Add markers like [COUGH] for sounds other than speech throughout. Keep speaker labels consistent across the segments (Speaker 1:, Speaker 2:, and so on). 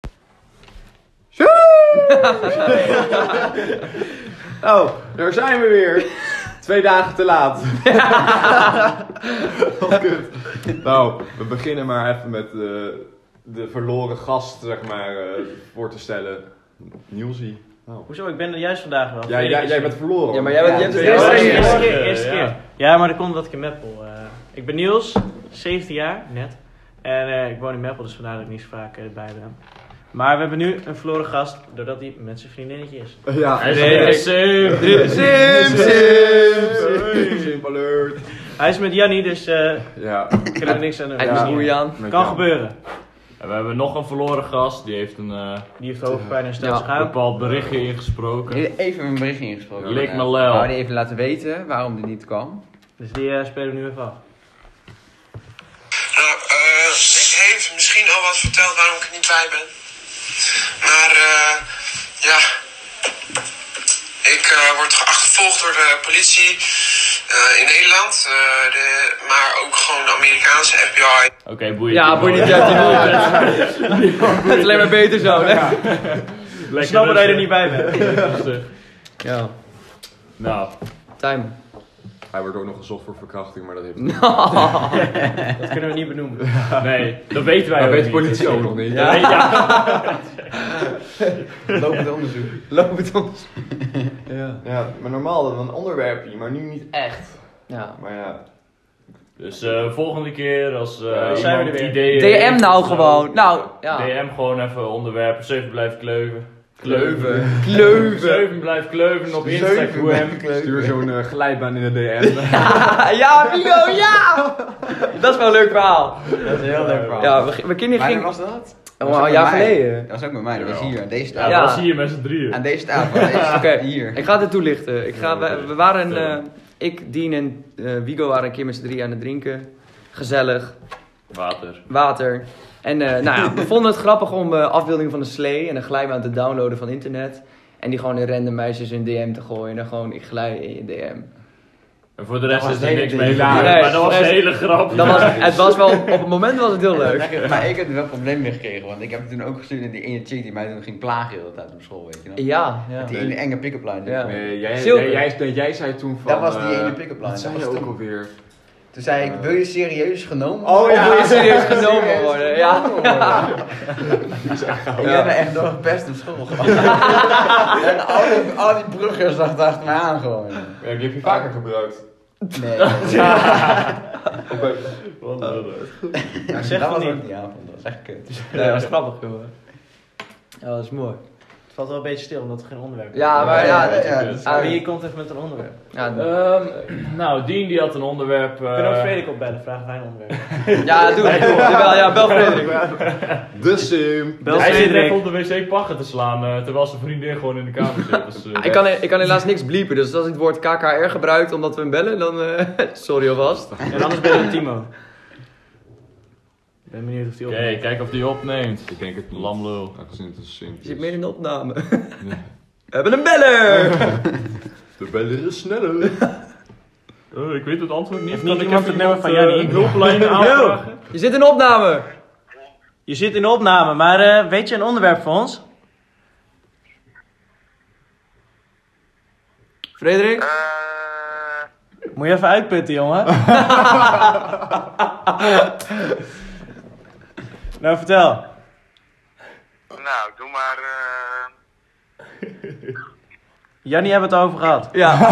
Speaker 1: [LAUGHS] Oh, daar zijn we weer. Twee dagen te laat. Wat kut. Nou, we beginnen maar even met eh, de verloren gast, zeg maar, eh, voor te stellen. Nielsie. Nou.
Speaker 2: Hoezo, ik ben er juist vandaag wel.
Speaker 1: Jij, jij, jij bent verloren.
Speaker 3: Ja, maar jij bent-
Speaker 1: Ja,
Speaker 3: jij bent
Speaker 2: Ja,
Speaker 1: tweede
Speaker 3: de
Speaker 2: eerste,
Speaker 3: eerste.
Speaker 2: keer, eerste keer,
Speaker 4: Ja.
Speaker 2: eerste keer. Ja, maar dat komt omdat ik in Meppel... eh, ik ben Niels, 17 jaar, net. En eh, ik woon in Meppel, dus vandaar dat ik niet zo vaak eh, erbij ben. Maar we hebben nu een verloren gast, doordat hij met zijn vriendinnetje is.
Speaker 1: Ja.
Speaker 4: Hij is
Speaker 2: Nee,
Speaker 4: er. [LAUGHS]
Speaker 1: Sim, sim, sim, sim alert.
Speaker 2: Hij is met Jannie, dus eh
Speaker 1: Ja,
Speaker 2: kunnen we niks aan doen.
Speaker 3: Hij
Speaker 1: Ja.
Speaker 3: is Boerjaan.
Speaker 1: met
Speaker 2: Kan
Speaker 1: jou.
Speaker 2: gebeuren.
Speaker 4: En we hebben nog een verloren gast, die heeft een eh,
Speaker 2: Die heeft hoofdpijn en stelt
Speaker 3: Ja.
Speaker 2: zich aan.
Speaker 4: bepaald berichtje ingesproken.
Speaker 3: Even een berichtje ingesproken.
Speaker 4: Lik
Speaker 3: Eh,
Speaker 4: me lel.
Speaker 3: We hadden even laten weten waarom dit niet kwam.
Speaker 2: Dus die eh, spelen we nu even af.
Speaker 5: Nou, eh, Nick heeft misschien al wat verteld waarom ik er niet bij ben. Maar eh, ja, ik eh, word geachtervolgd door de politie eh, in Nederland, eh, de, maar ook gewoon de Amerikaanse FBI.
Speaker 4: Oké, boeien.
Speaker 6: [LAUGHS]
Speaker 3: Het is alleen maar beter zo, hè?
Speaker 2: Ik snap dat je er niet bij bent.
Speaker 4: bij
Speaker 3: Ja,
Speaker 4: Nou,
Speaker 6: [LAUGHS]
Speaker 3: time.
Speaker 1: Hij wordt ook nog gezocht voor verkrachting, maar dat heeft niet.
Speaker 2: Dat kunnen we niet benoemen.
Speaker 4: Nou, nee, dat weten wij
Speaker 1: Dat
Speaker 4: ook
Speaker 1: weet de
Speaker 4: niet.
Speaker 1: politie ook nog niet.
Speaker 4: Ja, ja.
Speaker 6: [LAUGHS]
Speaker 3: Lopend onderzoek. Lopend onderzoek.
Speaker 1: Ja. ja, maar normaal dan een onderwerpje, maar nu niet echt.
Speaker 3: Ja.
Speaker 1: Maar ja,
Speaker 4: Dus eh, volgende keer als eh
Speaker 1: Ja,
Speaker 2: zijn we
Speaker 4: iemand
Speaker 2: er weer.
Speaker 4: ideeën
Speaker 3: DM
Speaker 4: heeft
Speaker 3: nou
Speaker 4: of zo,
Speaker 3: gewoon. Nou, ja.
Speaker 4: DM gewoon even onderwerpen. Zeven blijft kleuven.
Speaker 3: Kleuven.
Speaker 1: [LAUGHS]
Speaker 4: Zeven blijft kleuven op Instagram.
Speaker 1: stuur zo'n eh, glijbaan in de [LAUGHS] DM.
Speaker 3: [LAUGHS] Ja, Vigo, ja! Dat is wel een leuk verhaal.
Speaker 2: Dat is heel leuk, bro.
Speaker 3: Ja, we- mijn
Speaker 6: Wanneer
Speaker 3: kinderen gingen...
Speaker 6: was dat?
Speaker 3: Oh, een jaar geleden.
Speaker 6: Dat was ook met mij, dat was hier, aan deze
Speaker 4: Ja,
Speaker 6: tafel.
Speaker 3: Ja.
Speaker 4: dat zie je met z'n drieën.
Speaker 6: Aan deze tafel, aan deze tafel,
Speaker 3: [LAUGHS] Oké.
Speaker 6: hier.
Speaker 3: Ik ga dit toelichten. Ik ga, we, we waren,
Speaker 4: Ja.
Speaker 3: eh, ik, Dien en eh, Wigo waren een keer met z'n drie aan het drinken. Gezellig,
Speaker 4: Water.
Speaker 3: water. En eh,
Speaker 2: [LAUGHS]
Speaker 3: nou ja, we vonden het grappig om eh, afbeeldingen van een slee en een glijbaan te downloaden van internet. En die gewoon in random meisjes in DM te gooien. En dan gewoon, ik glij in je DM.
Speaker 4: En voor de rest is er niks
Speaker 6: hele
Speaker 4: mee gedaan.
Speaker 3: Nee,
Speaker 4: maar dat was
Speaker 3: voor
Speaker 4: een
Speaker 3: de rest-
Speaker 4: hele grap.
Speaker 3: Dat
Speaker 2: [LAUGHS]
Speaker 3: was, het was wel, op het moment was het heel leuk.
Speaker 6: Maar ik heb er wel problemen mee gekregen, want ik heb toen ook gestuurd naar die ene chick die mij toen ging plagen de hele tijd op school, weet je nog?
Speaker 3: Ja, ja.
Speaker 6: Met Die ene enge pick-up line. die
Speaker 3: Ja.
Speaker 6: ik hoorde.
Speaker 1: Nee, eh, jij,
Speaker 3: Zilver.
Speaker 1: nee, jij, nee, jij zei toen van...
Speaker 6: Dat was die
Speaker 1: eh,
Speaker 6: ene pick-up line.
Speaker 1: Wat zei
Speaker 6: Dat
Speaker 1: je
Speaker 6: was
Speaker 1: ook
Speaker 6: toen.
Speaker 1: alweer?
Speaker 6: Toen zei ik, wil je serieus genomen
Speaker 1: Oh,
Speaker 3: Of
Speaker 1: ja.
Speaker 3: wil je serieus
Speaker 6: [LAUGHS] Serieus
Speaker 3: genomen worden? Ja.
Speaker 6: genomen worden. Ik ben er echt door best op school gehad. en al die, al die bruggers dacht achter mij aan gewoon.
Speaker 1: Ja, die heb je vaker gebruikt.
Speaker 6: Nee,
Speaker 1: Oké.
Speaker 4: Wat een lul.
Speaker 6: dat
Speaker 2: zeg
Speaker 6: was
Speaker 2: dat niet.
Speaker 6: ook die avond, dat was echt kut.
Speaker 3: Nee, dat was grappig, jongen. Ja, dat is mooi.
Speaker 2: Het valt wel een beetje stil, omdat er geen onderwerp is.
Speaker 3: Ja, maar ja. dat-
Speaker 6: ja, dat is-
Speaker 2: Maar
Speaker 3: ah,
Speaker 2: Wie komt even met een onderwerp?
Speaker 3: Ja,
Speaker 4: Ehm, nou, Dien die had een onderwerp. eh,
Speaker 2: We kunnen ook Frederik opbellen, vragen wij een onderwerp.
Speaker 3: [LAUGHS] ja doe het. Jawel, ja, bel Frederik.
Speaker 1: De Sim.
Speaker 2: Bel
Speaker 4: hij zit echt
Speaker 2: Frederik.
Speaker 4: op de wc pakken te slaan, eh, terwijl zijn vriendin gewoon in de kamer zit. Dus, eh,
Speaker 3: Ah, Ik kan, ik kan helaas niks bliepen, dus als hij het woord KKR gebruikt omdat we hem bellen, dan... eh, [LAUGHS] sorry alvast.
Speaker 2: En anders ben je Timo. Ik ben benieuwd of die
Speaker 4: Oké,
Speaker 2: op.
Speaker 4: kijk of die opneemt.
Speaker 1: Ik denk het niet.
Speaker 4: Lamlul.
Speaker 1: Aangezien het een Sim
Speaker 3: Je
Speaker 1: is.
Speaker 3: zit midden in de opname. We hebben een beller!
Speaker 1: De beller is sneller.
Speaker 4: Eh, ik weet het antwoord niet.
Speaker 2: Heeft
Speaker 4: Kan
Speaker 2: niet
Speaker 4: ik
Speaker 2: iemand
Speaker 4: even
Speaker 2: het nummer van
Speaker 4: iemand, eh,
Speaker 2: Jannie?
Speaker 4: een hulplijn aanvragen?
Speaker 3: Je zit in de opname!
Speaker 2: Je zit in de opname, maar eh, weet je een onderwerp voor ons?
Speaker 3: Frederik?
Speaker 5: Eh,
Speaker 2: Moet je even uitputten,
Speaker 3: [LAUGHS]
Speaker 2: jongen. nou, vertel.
Speaker 5: nou, doe maar. eh,
Speaker 2: Jannie hebben het over gehad.
Speaker 3: Ja.
Speaker 5: is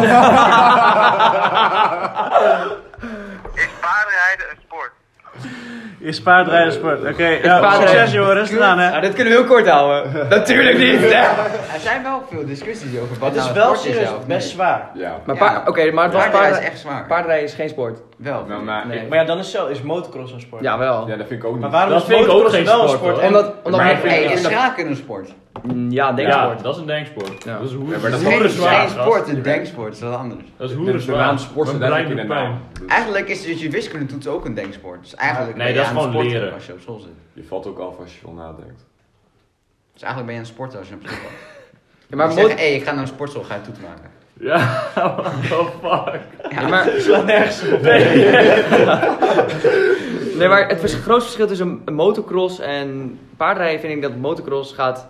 Speaker 5: paardrijden een sport?
Speaker 2: Is paardrijdersport. Oké, nou,
Speaker 3: paardrijden-
Speaker 2: succes jongen, rustig aan hè.
Speaker 3: Nou, dit kunnen we heel kort houden. Natuurlijk niet!
Speaker 6: Er zijn wel veel discussies over wat
Speaker 2: Het is
Speaker 6: nou
Speaker 2: wel
Speaker 6: sport ja
Speaker 2: serieus
Speaker 6: of
Speaker 2: best
Speaker 6: niet.
Speaker 2: zwaar.
Speaker 1: Ja.
Speaker 3: Maar pa- oké, maar het
Speaker 6: Paardrijden
Speaker 3: was
Speaker 6: is
Speaker 3: paardrijden.
Speaker 6: echt zwaar.
Speaker 3: Paardrijden is geen sport.
Speaker 6: wel.
Speaker 1: Nou, maar,
Speaker 3: Nee.
Speaker 1: ik-
Speaker 2: Maar ja, dan is, zo, is motocross een sport.
Speaker 3: Jawel.
Speaker 1: ja, dat vind ik ook niet.
Speaker 2: Maar waarom
Speaker 4: Dat
Speaker 2: is
Speaker 4: vind ik ook
Speaker 2: motocross
Speaker 4: geen
Speaker 2: wel een
Speaker 4: sport,
Speaker 2: sport?
Speaker 4: hoor.
Speaker 2: en-
Speaker 3: Omdat, omdat
Speaker 4: Maar ik vind-
Speaker 6: Hey,
Speaker 4: ik
Speaker 6: is
Speaker 4: vind
Speaker 6: schaken een sport?
Speaker 3: Mm, Ja,
Speaker 4: Ja,
Speaker 3: denksport.
Speaker 4: dat is een denksport.
Speaker 3: Ja.
Speaker 4: Dat is
Speaker 1: Ja,
Speaker 4: hoer-
Speaker 1: maar dat
Speaker 4: dat is
Speaker 1: is
Speaker 4: hoeren
Speaker 6: Geen,
Speaker 4: zwaar.
Speaker 6: geen
Speaker 4: gast.
Speaker 6: sport, een denksport, dat is wat anders.
Speaker 4: Dat is
Speaker 1: de
Speaker 4: hoeren zwaar.
Speaker 1: naam sporten,
Speaker 4: Mijn
Speaker 1: daar heb
Speaker 4: brein
Speaker 1: je
Speaker 4: doet
Speaker 1: een
Speaker 4: pijn.
Speaker 1: [LAUGHS] naam.
Speaker 6: Eigenlijk is dus je wiskundetoets ook een denksport. Dus eigenlijk
Speaker 4: Ah, Nee,
Speaker 6: ben je
Speaker 4: dat is
Speaker 6: aan het
Speaker 4: gewoon
Speaker 6: sporten
Speaker 4: leren.
Speaker 6: Als je op school zit.
Speaker 1: Je valt ook af als je veel nadenkt.
Speaker 6: Dus eigenlijk ben je aan het sporten als je op school zit.
Speaker 3: [LAUGHS] Ja,
Speaker 6: Maar
Speaker 3: maar,
Speaker 6: je
Speaker 3: mot-
Speaker 6: zegt, hé, ik ga naar een sportschool, ga je toets maken.
Speaker 4: Ja, what the [LAUGHS] fuck.
Speaker 3: ja, maar
Speaker 2: slaat nergens op.
Speaker 3: Nee, maar het vers- grootste verschil tussen een motocross en paardrijden vind ik dat motocross gaat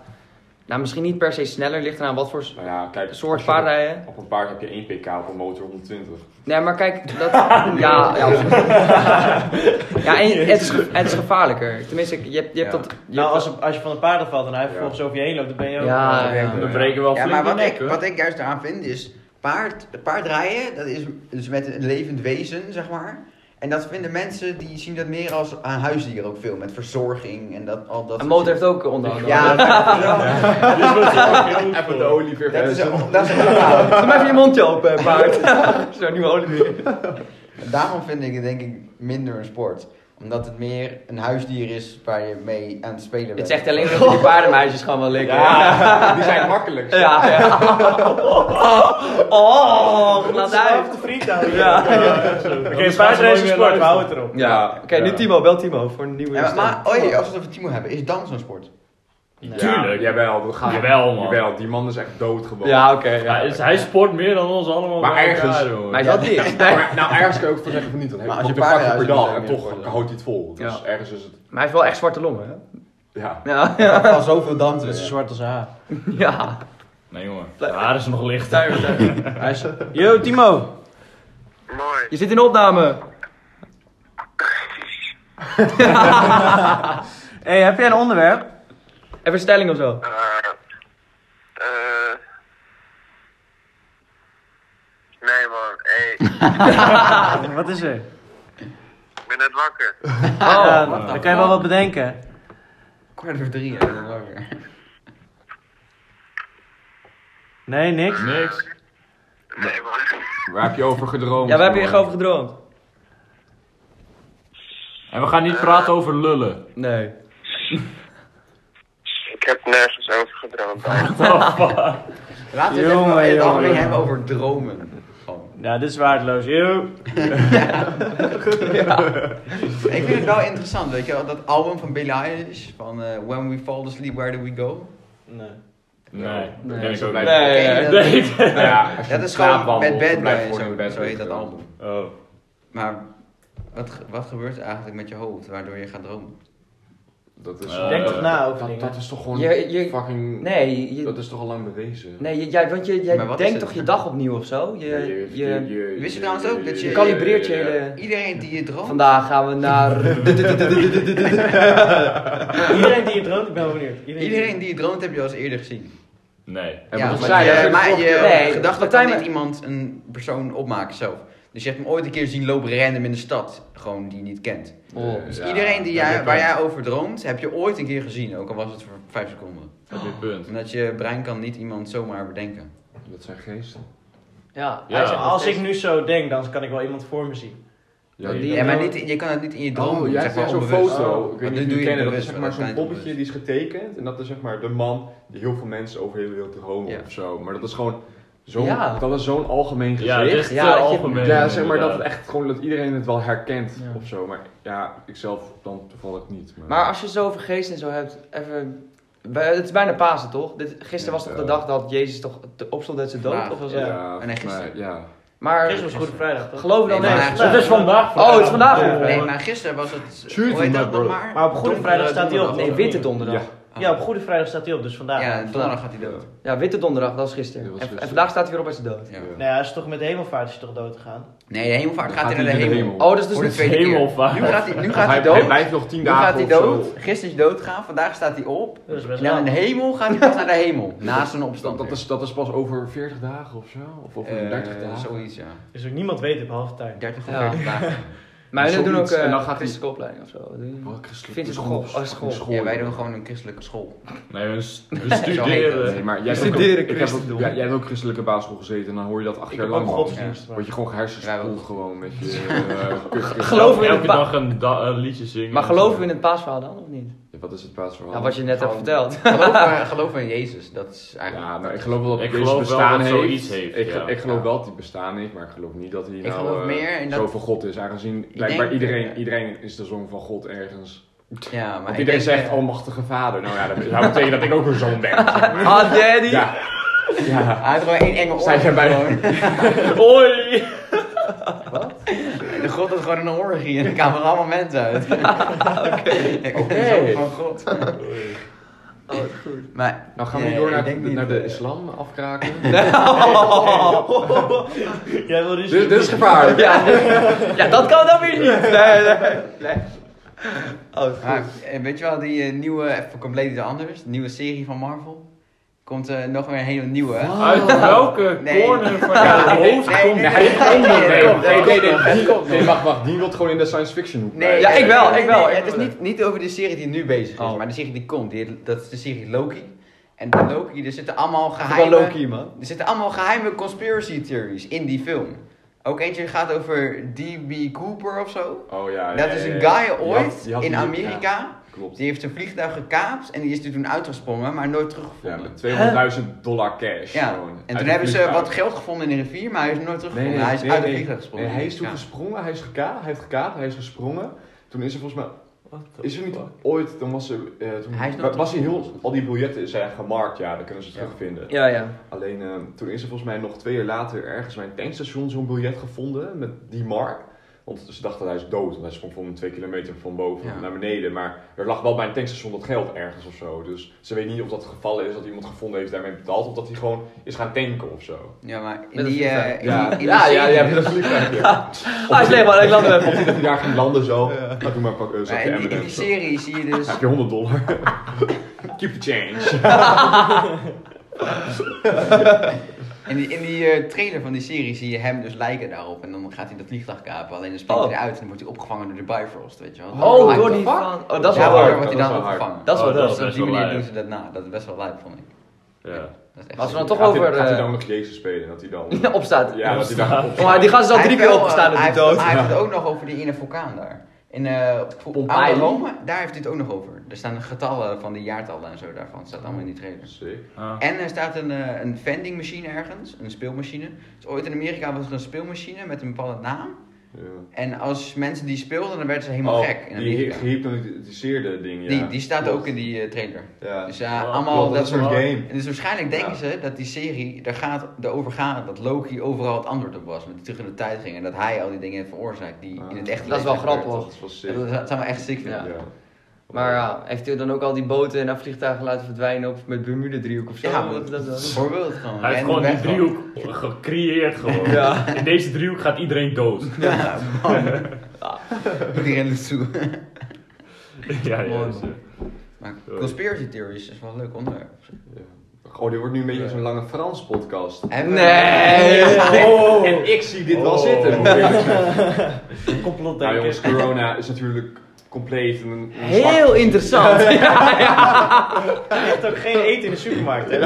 Speaker 3: Nou, misschien niet per se sneller, ligt eraan wat voor s-
Speaker 1: Nou ja, kijk. als
Speaker 3: soort
Speaker 1: je
Speaker 3: paard rijden.
Speaker 1: Op een paard heb je 1 pk, op een motor 120.
Speaker 3: Nee, maar kijk, [LAUGHS] dat... ja, ja. [LAUGHS] ja, en het is, ge- het is gevaarlijker. Tenminste, je hebt, je hebt
Speaker 6: Ja.
Speaker 3: dat... je
Speaker 2: Nou,
Speaker 3: hebt
Speaker 2: als, op- als je van een paard afvalt en hij vervolgens over je heen loopt, dan ben je
Speaker 3: dat-
Speaker 2: ook...
Speaker 3: Ja, ja.
Speaker 4: We breken
Speaker 6: Ja,
Speaker 4: wel flink
Speaker 6: maar
Speaker 4: de
Speaker 6: wat
Speaker 4: nek,
Speaker 6: ik,
Speaker 4: hoor.
Speaker 6: wat ik juist eraan vind is, paard, paardrijden, dat is dus met een levend wezen, zeg maar. En dat vinden mensen, die zien dat meer als aan huisdieren ook veel, met verzorging en dat, al dat
Speaker 3: Een
Speaker 6: soort
Speaker 3: motor heeft
Speaker 6: shit.
Speaker 3: ook onderhoud.
Speaker 6: Ja,
Speaker 4: Dus we zorgen heel goed
Speaker 1: [LAUGHS] Even de
Speaker 4: voor.
Speaker 1: olie weer
Speaker 6: dat is,
Speaker 1: versen.
Speaker 6: dat is ja.
Speaker 3: Doe maar even je mondje open, [LAUGHS] paard. Zo, nu olie meer.
Speaker 6: Daarom vind ik het denk ik minder een sport. Omdat het meer een huisdier is waar je mee aan het spelen bent.
Speaker 3: Het zegt alleen [LAUGHS] dat die paardenmeisjes gewoon wel likken.
Speaker 1: Ja, [LAUGHS] die zijn makkelijk.
Speaker 3: Ja, ja. Oh, laat uit.
Speaker 2: de friet houden.
Speaker 3: Ja.
Speaker 2: Oké, paardrijden is een sport, we houden het erop.
Speaker 3: Ja, oké, nu
Speaker 1: Ja.
Speaker 3: Timo, bel Timo voor een nieuwe
Speaker 6: Ja, maar,
Speaker 3: stem.
Speaker 6: maar oei, als we het over Timo hebben, is dans een sport?
Speaker 1: Ja,
Speaker 4: Tuurlijk.
Speaker 1: Jawel, dat gaat.
Speaker 4: Jawel, man.
Speaker 1: Jawel, die man is echt dood gewoon.
Speaker 3: Ja, oké, ja.
Speaker 4: Ja, dus hij sport meer dan ons allemaal
Speaker 1: Maar
Speaker 4: bij
Speaker 1: ergens-
Speaker 4: elkaar, hoor.
Speaker 3: Maar is dat niks? [LAUGHS] Nee.
Speaker 1: Maar, nou, ergens kan je ook van zeggen van niet, dan heb
Speaker 6: Maar
Speaker 1: je
Speaker 6: als je
Speaker 1: een pakje per
Speaker 6: paardenhuis
Speaker 1: dag en
Speaker 6: moet, dan
Speaker 1: toch
Speaker 6: wordt het-
Speaker 1: houdt hij het vol. Dus
Speaker 3: Ja.
Speaker 1: ergens is het,
Speaker 3: Maar hij heeft wel echt zwarte longen, hè?
Speaker 1: ja.
Speaker 3: Ja,
Speaker 6: Ik heb al zoveel dansen.
Speaker 2: Dat is
Speaker 6: Ja.
Speaker 2: zwart als haar.
Speaker 3: ja.
Speaker 4: Nee, jongen.
Speaker 3: Blijf-
Speaker 4: Haar is nog licht.
Speaker 2: Yo, Timo.
Speaker 5: Mooi.
Speaker 3: Je zit in de opname.
Speaker 2: Hey, heb jij een onderwerp?
Speaker 3: Even een stelling of zo.
Speaker 5: Eh, eh. nee man, hey,
Speaker 2: Wat is er?
Speaker 5: ik ben net wakker.
Speaker 2: Oh, dan kan je wel wat bedenken.
Speaker 6: Kwart voor drie, hè, dat is langer.
Speaker 2: Nee, niks.
Speaker 4: Niks.
Speaker 5: Nee man.
Speaker 1: Waar heb je over gedroomd?
Speaker 3: Ja, waar heb je echt
Speaker 1: gewoon?
Speaker 3: over gedroomd?
Speaker 4: En we gaan niet praten over lullen.
Speaker 3: Nee.
Speaker 5: Ik heb nergens over gedroomd.
Speaker 6: [LAUGHS] Laten we het
Speaker 2: Jongen,
Speaker 6: even een
Speaker 2: jongen.
Speaker 6: aflevering hebben over dromen.
Speaker 2: Ja, dit is waardeloos. Yo.
Speaker 6: Ik vind het wel interessant, weet je wel, dat album van Billie Eilish, van eh, When We Fall Asleep, Where Do We Go?
Speaker 2: Nee.
Speaker 4: Nee, dat
Speaker 3: Nee.
Speaker 4: ken ik ook
Speaker 1: Nee.
Speaker 4: niet.
Speaker 3: Nee,
Speaker 6: Ken je
Speaker 3: ja.
Speaker 6: dat?
Speaker 4: Nee.
Speaker 1: Nou ja, als je
Speaker 6: Dat is
Speaker 1: slaapt
Speaker 6: gewoon
Speaker 1: wandelt,
Speaker 6: Bad Bad
Speaker 1: dan blijf je
Speaker 6: Boy,
Speaker 1: gewoon in
Speaker 6: zo,
Speaker 1: bed eh,
Speaker 6: zo heet dat
Speaker 1: liggen.
Speaker 6: album.
Speaker 4: Oh.
Speaker 6: Maar wat, ge- wat gebeurt er eigenlijk met je hoofd, waardoor je gaat dromen?
Speaker 1: Dat is,
Speaker 4: Eh,
Speaker 2: Denk toch na over
Speaker 1: dat,
Speaker 2: dingen.
Speaker 1: dat is toch gewoon
Speaker 3: Je- je-
Speaker 1: fucking...
Speaker 3: Nee, je,
Speaker 1: Dat is toch al lang bewezen?
Speaker 3: nee je- jij, want je,
Speaker 6: Maar
Speaker 3: jij
Speaker 6: wat
Speaker 3: denkt
Speaker 6: is het?
Speaker 3: toch je dag opnieuw of zo? Je, je,
Speaker 6: Wist je trouwens ook dat je-
Speaker 3: je kalibreert je hele...
Speaker 6: Iedereen die je droomt...
Speaker 3: Vandaag gaan we naar...
Speaker 2: Iedereen die je droomt, ik ben wel benieuwd.
Speaker 6: Iedereen die je droomt heb je al eens eerder gezien.
Speaker 4: Nee.
Speaker 1: Ja,
Speaker 6: ja,
Speaker 1: maar
Speaker 6: maar,
Speaker 1: zei
Speaker 6: je,
Speaker 1: dat
Speaker 6: maar
Speaker 1: vorige
Speaker 6: je
Speaker 3: keer ook.
Speaker 6: gedachten
Speaker 3: Partij
Speaker 6: kan niet
Speaker 3: me-
Speaker 6: iemand een persoon opmaken zelf. Dus je hebt hem ooit een keer zien lopen random in de stad, gewoon die je niet kent.
Speaker 3: Oh.
Speaker 6: Dus
Speaker 1: Ja,
Speaker 6: iedereen die
Speaker 1: dat
Speaker 6: jij,
Speaker 1: heb
Speaker 6: waar
Speaker 1: ik.
Speaker 6: jij over droomt, heb je ooit een keer gezien, ook al was het voor vijf seconden.
Speaker 4: Heb je punt.
Speaker 6: Omdat je brein kan niet iemand zomaar bedenken.
Speaker 1: Dat zijn geesten.
Speaker 3: Ja,
Speaker 4: Ja.
Speaker 3: hij zegt nog
Speaker 2: Als ik
Speaker 3: steeds-
Speaker 2: nu zo denk, dan kan ik wel iemand voor me zien.
Speaker 1: Ja,
Speaker 3: die-
Speaker 1: die-
Speaker 6: Ja, maar niet, je kan het niet in je droom
Speaker 1: Oh,
Speaker 6: doen,
Speaker 1: jij
Speaker 6: zeg
Speaker 1: hebt
Speaker 6: maar
Speaker 1: zo'n
Speaker 6: onbewust.
Speaker 1: foto.
Speaker 6: Oh,
Speaker 1: ik weet niet
Speaker 6: dat
Speaker 1: of
Speaker 6: doe
Speaker 1: jullie
Speaker 6: je
Speaker 1: kennen, dat is
Speaker 6: onbewust,
Speaker 1: zeg
Speaker 6: maar
Speaker 1: maar
Speaker 6: dat
Speaker 1: zo'n
Speaker 6: kan je niet
Speaker 1: poppetje die is getekend. En dat is zeg maar de man die heel veel mensen over heel de wereld homo
Speaker 6: Ja.
Speaker 1: of zo. Maar dat is gewoon zo'n
Speaker 3: Ja.
Speaker 1: dat is zo'n algemeen
Speaker 4: Ja, dit is
Speaker 1: gezicht.
Speaker 4: te
Speaker 3: Ja, dat je-
Speaker 4: algemeen.
Speaker 1: Ja, zeg maar dat, het
Speaker 4: inderdaad.
Speaker 1: echt gewoon, dat iedereen het wel herkent
Speaker 3: Ja.
Speaker 1: of zo. Maar ja, ik zelf dan toevallig niet. Maar,
Speaker 3: Maar als je het zo over geest en zo hebt, even... Bij- Het is bijna Pasen, toch? Dit, gisteren was toch de
Speaker 1: Ja.
Speaker 3: dag dat Jezus toch te- opstond uit zijn dood?
Speaker 6: Vandaag.
Speaker 3: Of was
Speaker 1: ja,
Speaker 3: het?
Speaker 6: en hij gisteren.
Speaker 1: maar, ja.
Speaker 3: Maar
Speaker 2: Gisteren was Goede Vrijdag, toch?
Speaker 3: geloof dan
Speaker 6: Nee,
Speaker 3: echt.
Speaker 6: maar hij-
Speaker 4: Het
Speaker 2: dus
Speaker 4: is vandaag.
Speaker 3: Oh, het is vandaag.
Speaker 2: Ja.
Speaker 6: Nee, maar gisteren was het.
Speaker 1: Shoot
Speaker 6: Hoe heet
Speaker 1: me,
Speaker 6: dat nog
Speaker 1: brother.
Speaker 6: maar?
Speaker 2: Maar op Goede
Speaker 6: Donkere
Speaker 2: Vrijdag staat hij op.
Speaker 6: donderdag.
Speaker 3: Nee, Witte Donderdag.
Speaker 1: Ja.
Speaker 3: Ja,
Speaker 2: Ja, op Goede Vrijdag staat hij op, dus vandaag.
Speaker 6: Ja, donderdag
Speaker 2: Vandaag.
Speaker 6: gaat hij dood.
Speaker 3: Witte Donderdag, dat was gisteren.
Speaker 1: Dat was
Speaker 3: En- en,
Speaker 1: gisteren.
Speaker 3: vandaag staat hij weer op uit zijn dood.
Speaker 6: Ja.
Speaker 1: Ja.
Speaker 2: Nou ja, hij is toch met de hemelvaart is hij toch dood gegaan.
Speaker 6: Nee, de hemelvaart gaat,
Speaker 1: Gaat
Speaker 6: hij naar de
Speaker 1: hij
Speaker 6: hemel.
Speaker 1: naar de hemel?
Speaker 3: Oh, dat is dus
Speaker 6: Voor de
Speaker 3: niet...
Speaker 6: tweede
Speaker 4: Hemelvaart.
Speaker 6: keer. Nu gaat hij, nu gaat
Speaker 1: Hij,
Speaker 6: hij
Speaker 1: hij
Speaker 6: dood.
Speaker 1: blijft nog tien
Speaker 6: nu gaat
Speaker 1: dagen
Speaker 6: hij
Speaker 1: of zo.
Speaker 6: dood. Gisteren is hij doodgegaan, vandaag staat hij op.
Speaker 3: Eh,
Speaker 2: Dat is best
Speaker 6: En dan in de
Speaker 2: wel.
Speaker 6: hemel gaat hij pas naar de hemel. Na zijn
Speaker 1: Dat,
Speaker 6: opstand.
Speaker 1: dat, is, dat is pas over 40 dagen of zo? Of over
Speaker 6: Eh,
Speaker 1: 30 dagen?
Speaker 6: Zoiets, ja.
Speaker 2: Dus ook niemand weet het behalve tuin.
Speaker 6: 30 of
Speaker 3: Ja.
Speaker 6: 40 dagen.
Speaker 3: Maar jullie doen ook
Speaker 1: Zoiets. En dan
Speaker 3: eh
Speaker 1: gaat hij-
Speaker 3: christelijke opleiding of zo. Wat doen jullie?
Speaker 1: Wat Oh, christelijk.
Speaker 3: Vindt
Speaker 1: Dat
Speaker 3: het
Speaker 1: is gewoon
Speaker 3: school- oh, school.
Speaker 1: fucking
Speaker 6: Ja, wij doen gewoon een christelijke school.
Speaker 4: Nee, we, s- we
Speaker 1: Nee,
Speaker 4: studeren.
Speaker 1: maar jij
Speaker 3: We
Speaker 1: hebt ook-
Speaker 3: studeren
Speaker 1: ik heb ook-
Speaker 3: christendom.
Speaker 1: ja, jij hebt ook christelijke basisschool gezeten en dan hoor je dat acht
Speaker 2: Ik
Speaker 1: jaar
Speaker 2: heb ook
Speaker 1: lang. man.
Speaker 2: godsdienst.
Speaker 1: Word je gewoon
Speaker 6: Wij
Speaker 1: hersenspoeld
Speaker 6: ook.
Speaker 1: gewoon met je
Speaker 6: [LAUGHS]
Speaker 1: eh, kut- kut-
Speaker 3: Geloof me in het
Speaker 4: Elke
Speaker 3: pa-
Speaker 4: dag een da- een liedje zingen.
Speaker 3: Maar geloven we in het paasverhaal dan, of niet?
Speaker 1: Ja, Wat is het basisverhaal?
Speaker 6: Nou,
Speaker 3: Ja, Nou, wat je net hebt
Speaker 6: Gewoon- [LAUGHS]
Speaker 3: verteld.
Speaker 6: Geloof,
Speaker 3: [LAUGHS]
Speaker 6: eh, geloof in Jezus, dat is eigenlijk.
Speaker 1: Ja, nou, ik geloof wel dat
Speaker 4: Ik
Speaker 1: Jezus
Speaker 4: geloof wel
Speaker 1: bestaan
Speaker 4: dat
Speaker 1: heeft.
Speaker 4: zoiets heeft,
Speaker 1: Ik,
Speaker 4: ja.
Speaker 1: ik geloof
Speaker 6: Ja.
Speaker 1: wel dat hij bestaan heeft, maar ik geloof niet dat hij nou
Speaker 6: geloof
Speaker 1: eh,
Speaker 6: meer in dat-
Speaker 1: zo van God is. Aangezien blijkbaar
Speaker 6: denk-
Speaker 1: iedereen, iedereen is de zoon van God ergens.
Speaker 6: Ja, maar
Speaker 1: Want
Speaker 6: ik
Speaker 1: iedereen
Speaker 6: denk,
Speaker 1: zegt
Speaker 6: eh,
Speaker 1: almachtige vader. Nou ja, dat
Speaker 6: [LAUGHS]
Speaker 1: zou betekenen dat ik ook een zoon ben.
Speaker 3: Ah, daddy!
Speaker 1: Ja. [LAUGHS] ja.
Speaker 6: Hij had gewoon één enge oor.
Speaker 1: Zij zijn bij-
Speaker 6: gewoon. [LAUGHS]
Speaker 2: Oei!
Speaker 6: De god had gewoon een orgie en er
Speaker 3: [LAUGHS]
Speaker 6: [LAUGHS] kwamen er allemaal mensen uit. Oké.
Speaker 1: Oké.
Speaker 6: Van God.
Speaker 3: Oh, wat goed.
Speaker 6: Maar,
Speaker 7: Nou gaan we
Speaker 6: nee,
Speaker 7: nu door
Speaker 6: ik
Speaker 7: naar,
Speaker 6: denk niet,
Speaker 7: naar de
Speaker 6: eh,
Speaker 7: islam
Speaker 6: [LAUGHS]
Speaker 7: afkraken.
Speaker 2: [LAUGHS] Jij wil dus...
Speaker 7: dit, dit is gevaarlijk.
Speaker 3: Ja, ja, dat kan dan weer niet. Nee, nee, nee. Oh,
Speaker 6: Maar, eh, weet je wel, die eh, nieuwe, even compleet iets anders, de nieuwe serie van Marvel, komt eh, nog weer een hele nieuwe.
Speaker 4: Uit welke
Speaker 6: Nee.
Speaker 4: corner van jouw hoofd
Speaker 6: Nee,
Speaker 4: komt
Speaker 6: nee,
Speaker 4: dit
Speaker 6: nee, nee, nee,
Speaker 4: onderwerp?
Speaker 7: Nee, nee, nee, nee, nee, wacht, wacht. Die wil gewoon in de science fiction hoek.
Speaker 6: Nee,
Speaker 3: Ja,
Speaker 6: nee,
Speaker 3: ik wel,
Speaker 6: nee,
Speaker 3: ik
Speaker 6: nee,
Speaker 3: wel,
Speaker 6: nee,
Speaker 3: ik
Speaker 6: het
Speaker 3: wel.
Speaker 6: is niet, niet over de serie die nu bezig is, maar de serie die komt. Die heet- dat is de serie Loki. En bij Loki, er zitten allemaal geheime...
Speaker 3: man.
Speaker 6: Er zitten allemaal geheime conspiracy theories in die film. Ook eentje gaat over D.B. Cooper of zo.
Speaker 1: Oh ja, ja,
Speaker 6: Dat
Speaker 1: ja,
Speaker 6: is
Speaker 1: ja,
Speaker 6: een
Speaker 1: ja.
Speaker 6: guy
Speaker 7: die
Speaker 6: ooit
Speaker 7: had- die had
Speaker 6: in
Speaker 7: die-
Speaker 6: Amerika.
Speaker 1: Klopt.
Speaker 6: Die heeft een vliegtuig gekaapt en die is er toen uitgesprongen, maar nooit
Speaker 1: Ja,
Speaker 6: teruggevonden.
Speaker 1: met 200.000 dollar cash.
Speaker 6: Ja,
Speaker 1: gewoon. Uit
Speaker 6: en
Speaker 1: een
Speaker 6: toen hebben ze
Speaker 1: vliegtuig.
Speaker 6: wat geld gevonden in een rivier, maar hij is nooit teruggevonden. hij is uit de vliegtuig gesprongen.
Speaker 1: Nee, hij is toen
Speaker 6: Ja.
Speaker 1: gesprongen, hij is gekaapt, hij heeft gekaapt, hij is gesprongen. Toen is er volgens mij, is er niet ooit, toen was er, eh, toen
Speaker 6: Hij is nog
Speaker 1: wa- was hij heel, al die biljetten zijn gemarkt, ja, dan kunnen ze terugvinden.
Speaker 3: Ja, ja.
Speaker 1: Alleen eh, toen is er volgens mij nog twee jaar later ergens bij een tankstation zo'n biljet gevonden met die mark. Want ze dachten dat hij is dood, want hij sprong van twee kilometer van boven
Speaker 6: Ja.
Speaker 1: naar beneden. Maar er lag wel bij een tankstation dat geld ergens of zo. Dus ze weet niet of dat het geval is dat iemand gevonden heeft daarmee betaald. Of dat hij gewoon is gaan tanken of zo.
Speaker 6: Ja, maar in
Speaker 3: Met een
Speaker 6: die... eh,
Speaker 3: vliegtuig.
Speaker 6: in
Speaker 1: Ja, dus
Speaker 6: die- in die
Speaker 1: ja, ja,
Speaker 6: serie-
Speaker 1: ja, dat is lief. Ja.
Speaker 3: Ah, is leeg, man. Ik land hem even.
Speaker 1: Of dat hij daar ging landen zo. Ga doe maar pak eh,
Speaker 6: Maar
Speaker 1: zakje
Speaker 6: in, die- in die
Speaker 1: M&M's. Dan
Speaker 6: serie zie je dus...
Speaker 1: Heb je 100 dollar? Keep the change.
Speaker 6: In die, in die eh, trailer van die serie zie je hem dus lijken daarop. En dan gaat hij dat vliegtuig kapen. Alleen dan springt
Speaker 3: Oh.
Speaker 6: hij eruit en dan wordt hij opgevangen door de Bifrost, weet je wel.
Speaker 3: Oh,
Speaker 6: Dan-
Speaker 3: door die van... Oh, dat is
Speaker 6: ja,
Speaker 3: wel
Speaker 1: hard.
Speaker 6: daar
Speaker 3: leuk.
Speaker 6: wordt hij
Speaker 1: Dat is
Speaker 6: dan
Speaker 1: wel hard.
Speaker 6: opgevangen.
Speaker 3: Dat is wel
Speaker 4: Oh, dat
Speaker 3: leuk.
Speaker 4: is
Speaker 6: Dus op
Speaker 4: best
Speaker 6: die
Speaker 4: wel
Speaker 6: manier
Speaker 4: lijp.
Speaker 6: doen ze dat na. Dat is best wel lijp, vond ik.
Speaker 4: Ja.
Speaker 6: Dat is echt
Speaker 3: Als we
Speaker 6: zo-
Speaker 3: dan toch
Speaker 1: Gaat hij-
Speaker 3: over...
Speaker 1: Gaat hij
Speaker 3: eh,
Speaker 1: dan nog Jezus spelen? Dat hij dan...
Speaker 3: [LAUGHS] Ja, opstaat.
Speaker 1: Ja, dat hij daar
Speaker 3: Oh, maar die gast is al
Speaker 6: Hij heeft
Speaker 3: drie keer
Speaker 6: wel,
Speaker 3: opgestaan
Speaker 6: eh,
Speaker 3: op
Speaker 6: hij
Speaker 3: die
Speaker 6: heeft-
Speaker 3: dood.
Speaker 6: Hij heeft het ook nog over die ene vulkaan daar. In eh vo-
Speaker 3: Pompeii?
Speaker 6: oude Rome, daar heeft hij het ook nog over. Er staan getallen van de jaartallen en zo daarvan. staat allemaal in die trailers.
Speaker 1: Sick.
Speaker 6: En er staat een, eh, een vending machine ergens, een speelmachine. Dus ooit in Amerika was er een speelmachine met een bepaalde naam.
Speaker 1: Ja.
Speaker 6: En als mensen die speelden, dan werden ze helemaal
Speaker 1: Oh,
Speaker 6: gek. In
Speaker 1: die
Speaker 6: Amerika.
Speaker 1: gehypnotiseerde ding, ja.
Speaker 6: Die, die staat
Speaker 1: Klopt.
Speaker 6: ook in die eh, trailer.
Speaker 1: Ja.
Speaker 6: Dus ja,
Speaker 4: Wow.
Speaker 6: allemaal
Speaker 1: Klopt,
Speaker 6: dat, soort
Speaker 1: game.
Speaker 6: En dus waarschijnlijk denken
Speaker 1: Ja.
Speaker 6: ze dat die serie er gaat, erover gaat dat Loki overal het antwoord op was. Met die terug in de tijd ging en dat hij al die dingen heeft veroorzaakt die
Speaker 1: Ah.
Speaker 6: in het echte
Speaker 3: Dat is wel
Speaker 6: leven gebeuren.
Speaker 3: grappig.
Speaker 1: Dat was sick.
Speaker 6: Dat, dat zou me echt sick vinden.
Speaker 3: Ja. Maar ja, heeft hij dan ook al die boten en haar vliegtuigen laten verdwijnen? Ook met Bermuda-driehoek of zo?
Speaker 6: Ja,
Speaker 3: Hoe
Speaker 6: maar-
Speaker 3: had hij dat dan?
Speaker 6: Bijvoorbeeld gewoon.
Speaker 4: Hij heeft
Speaker 6: random
Speaker 4: gewoon die
Speaker 6: weggaan.
Speaker 4: driehoek gecreëerd gewoon.
Speaker 3: Ja.
Speaker 4: In deze driehoek gaat iedereen dood.
Speaker 6: Ja, man. Moet [LAUGHS] die rennen toe.
Speaker 4: ja, ja.
Speaker 6: Mooi, man.
Speaker 4: dus, eh,
Speaker 6: Maar
Speaker 4: Sorry.
Speaker 6: conspiracy theories is wel een leuk onderwerp.
Speaker 1: Oh, dit wordt nu een beetje zo'n lange Frans podcast.
Speaker 6: Hebben we-
Speaker 3: Nee.
Speaker 6: eh,
Speaker 1: Oh. En ik zie dit wel
Speaker 4: Oh.
Speaker 1: zitten. moet ik eerlijk zeggen. Nou
Speaker 2: Complot denken.
Speaker 1: jongens, corona is natuurlijk compleet een, een
Speaker 3: Heel interessant.
Speaker 2: Hij heeft ook geen eten in de supermarkt,
Speaker 1: [LAUGHS]
Speaker 2: hè?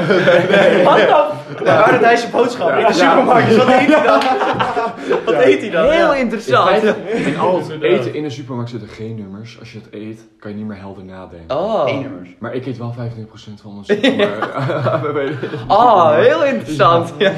Speaker 2: Wat dan? Waar had hij zijn boodschap? in de supermarkt. Dus wat eet hij dan? Wat eet hij dan?
Speaker 3: Heel
Speaker 2: Ja.
Speaker 3: interessant.
Speaker 1: In al het
Speaker 4: Inderdaad.
Speaker 1: eten in de supermarkt zitten geen nummers. Als je het eet, kan je niet meer helder nadenken.
Speaker 6: Eén
Speaker 3: Oh,
Speaker 6: nummers.
Speaker 1: Maar ik eet wel 25% van mijn soep. maar- [LAUGHS] we weten-
Speaker 3: oh heel interessant. Ja.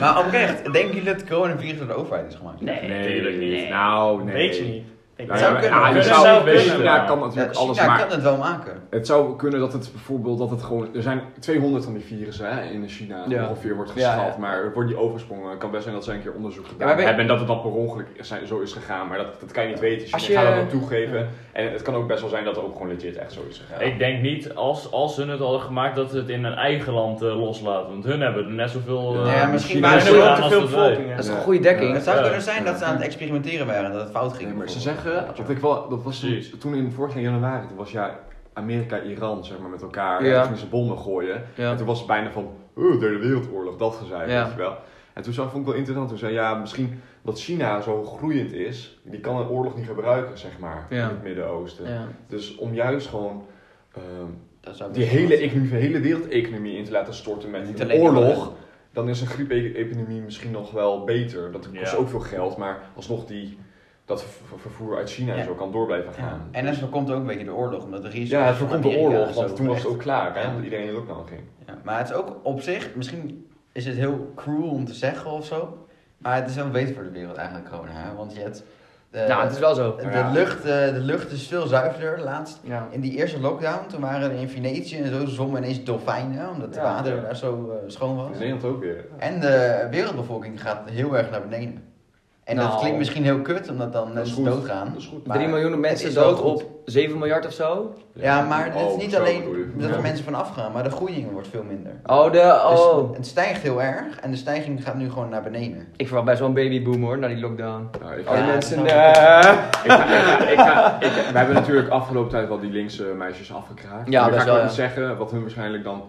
Speaker 6: Maar oprecht, denken jullie dat het coronavirus door de overheid is gemaakt?
Speaker 1: Nee,
Speaker 4: Tuurlijk niet.
Speaker 1: Nou, nee.
Speaker 2: Weet je niet. Ik
Speaker 1: Nou,
Speaker 6: zou
Speaker 1: ja,
Speaker 6: kunnen.
Speaker 1: ja, je
Speaker 4: Kunnen
Speaker 1: zou-
Speaker 4: zou kunnen.
Speaker 1: China kan
Speaker 6: Ja,
Speaker 1: natuurlijk alles,
Speaker 6: China
Speaker 1: maar
Speaker 6: kan het wel maken.
Speaker 1: Het zou kunnen dat het bijvoorbeeld dat het gewoon. Er zijn 200 van die virussen hè, in China
Speaker 3: Ja.
Speaker 1: ongeveer wordt
Speaker 3: Ja,
Speaker 1: geschat.
Speaker 3: ja.
Speaker 1: Maar er wordt niet oversprongen. Het kan best zijn dat ze een keer onderzoek gedaan
Speaker 3: maar weet-
Speaker 1: hebben en dat het dan per ongeluk zijn, zo is gegaan. Maar dat, dat kan je niet weten.
Speaker 3: Als
Speaker 1: Als je gaat dat
Speaker 3: je-
Speaker 1: ook toegeven. En het kan ook best wel zijn dat het ook gewoon legit echt zo is gegaan.
Speaker 4: Ik denk niet, als, als ze het hadden gemaakt, dat ze het in hun eigen land eh, loslaten. Want hun hebben er net zoveel...
Speaker 1: Ja,
Speaker 4: eh,
Speaker 6: Ja, misschien
Speaker 1: misschien
Speaker 6: waren
Speaker 1: is
Speaker 6: ze
Speaker 1: het
Speaker 4: wel
Speaker 6: wel
Speaker 4: te
Speaker 6: te
Speaker 4: veel
Speaker 6: veel
Speaker 4: bevolking,
Speaker 6: bevolking.
Speaker 3: Dat is een
Speaker 1: Ja.
Speaker 3: goede dekking.
Speaker 6: Het zou
Speaker 4: Ja.
Speaker 6: kunnen zijn dat ze aan het experimenteren waren, dat het fout ging.
Speaker 1: Nee, maar ze
Speaker 6: bijvoorbeeld.
Speaker 1: zeggen dat ik wel. Dat was toen,
Speaker 4: Precies.
Speaker 1: toen in vorig jaar januari. Toen was ja Amerika-Iran zeg maar met elkaar.
Speaker 3: Ja.
Speaker 1: En toen gingen ze bommen gooien. En
Speaker 3: Ja.
Speaker 1: toen was het bijna van, oh, derde wereldoorlog, dat gezeik,
Speaker 3: Ja.
Speaker 1: weet je wel. En toen zag, vond ik wel interessant, toen zei ja, misschien dat China zo groeiend is, die kan een oorlog niet gebruiken, zeg maar,
Speaker 3: Ja.
Speaker 1: in het Midden-Oosten.
Speaker 3: Ja.
Speaker 1: Dus om juist gewoon ehm,
Speaker 6: Dat zou
Speaker 1: die
Speaker 6: best wel
Speaker 1: hele,
Speaker 6: zijn.
Speaker 1: economie, hele wereldeconomie in te laten storten met
Speaker 6: Niet
Speaker 1: een
Speaker 6: alleen
Speaker 1: oorlog,
Speaker 6: oorlog.
Speaker 1: dan is een griepepidemie misschien nog wel beter. Dat kost
Speaker 4: Ja.
Speaker 1: ook veel geld, maar alsnog die, dat ver- vervoer uit China
Speaker 6: Ja.
Speaker 1: zo kan door blijven
Speaker 6: Ja.
Speaker 1: gaan.
Speaker 6: En het voorkomt ook een beetje de oorlog, omdat de risico's
Speaker 1: Ja, het
Speaker 6: van
Speaker 1: voorkomt de
Speaker 6: Amerika
Speaker 1: oorlog,
Speaker 6: zo
Speaker 1: want toen was het
Speaker 6: echt-
Speaker 1: ook klaar, hè,
Speaker 6: Ja.
Speaker 1: omdat iedereen het ook nou ging.
Speaker 6: Ja, maar het is ook op zich, misschien is het heel cruel om te zeggen of zo, maar het is wel beter voor de wereld eigenlijk gewoon, hè? want je hebt... De,
Speaker 3: Nou, het is wel zo.
Speaker 6: de,
Speaker 1: Ja.
Speaker 6: lucht, eh, de lucht is veel zuiverder. Laatst,
Speaker 3: Ja.
Speaker 6: in die eerste lockdown, toen waren er in Venetië en zo zwommen ineens dolfijnen, omdat het
Speaker 1: Ja.
Speaker 6: water daar zo eh, schoon was.
Speaker 1: In Nederland ook weer.
Speaker 6: En de wereldbevolking gaat heel erg naar beneden. En dat
Speaker 3: Nou.
Speaker 6: klinkt misschien heel kut, omdat dan mensen
Speaker 1: goed.
Speaker 6: doodgaan.
Speaker 1: Dat is goed.
Speaker 6: Maar-
Speaker 3: 3 miljoen mensen
Speaker 6: is wel
Speaker 3: dood
Speaker 6: goed.
Speaker 3: op 7 miljard of zo.
Speaker 6: Ja, maar het is
Speaker 1: Oh,
Speaker 6: niet
Speaker 1: zo
Speaker 6: alleen
Speaker 1: bedoel je.
Speaker 6: dat
Speaker 1: Ja.
Speaker 6: er mensen van afgaan, maar de groeiing wordt veel minder.
Speaker 3: Oh, de,
Speaker 6: Dus
Speaker 3: oh.
Speaker 6: het stijgt heel erg en de stijging gaat nu gewoon naar beneden.
Speaker 3: Ik verwacht best wel een babyboom hoor, na die lockdown.
Speaker 1: Nou, ik-
Speaker 3: Al die
Speaker 6: Ja,
Speaker 3: mensen,
Speaker 6: dat
Speaker 3: eh,
Speaker 1: Ik ga, ik ga- ik ga- ik- we hebben natuurlijk afgelopen tijd wel die linkse meisjes afgekraakt.
Speaker 3: Ja,
Speaker 1: Maar
Speaker 3: best
Speaker 1: ik ga
Speaker 3: wel,
Speaker 1: ook niet zeggen, wat hun waarschijnlijk dan,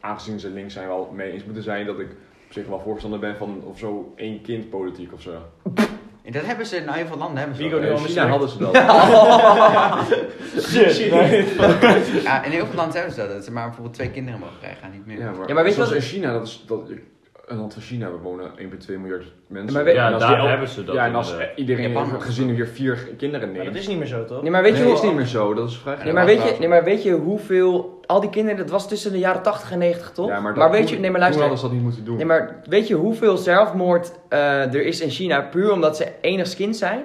Speaker 1: aangezien ze links zijn, wel mee eens moeten zijn, dat ik op zich wel voorstander ben van of zo één kind politiek of zo.
Speaker 6: En dat hebben ze in heel veel landen. Hebben ze
Speaker 4: Vigo
Speaker 6: dat.
Speaker 4: nu al
Speaker 1: In China
Speaker 4: mislukt.
Speaker 1: hadden ze dat.
Speaker 2: Shit.
Speaker 6: Ja, in heel veel landen hebben ze dat. Dat ze maar bijvoorbeeld twee kinderen mogen krijgen en niet meer.
Speaker 1: Ja, maar,
Speaker 3: Ja, maar weet je
Speaker 1: zoals
Speaker 3: wat-
Speaker 1: in China, dat is, dat, een land van China, we wonen 1,2 miljard mensen.
Speaker 3: maar weet-
Speaker 1: En
Speaker 4: Ja,
Speaker 1: als
Speaker 4: daar
Speaker 1: die el-
Speaker 4: hebben ze dat
Speaker 1: Ja, en als
Speaker 4: inderdaad.
Speaker 1: iedereen
Speaker 6: Japan
Speaker 1: in een
Speaker 6: ook.
Speaker 1: gezin hier vier kinderen
Speaker 2: Maar
Speaker 1: neemt.
Speaker 2: dat is niet meer zo, toch?
Speaker 3: Nee, maar weet je
Speaker 1: Nee,
Speaker 3: hoe...
Speaker 1: is niet meer zo, dat is vrij
Speaker 3: Nee, maar
Speaker 1: gek.
Speaker 3: weet je, nee, maar weet je hoeveel... Al die kinderen, dat was tussen de jaren 80 en 90, toch?
Speaker 1: Ja, maar, dat-
Speaker 3: weet je... Nee, maar luister.
Speaker 1: Toen hadden ze dat niet moeten doen.
Speaker 3: Nee, maar weet je hoeveel zelfmoord eh, er is in China puur omdat ze enigszins kind zijn?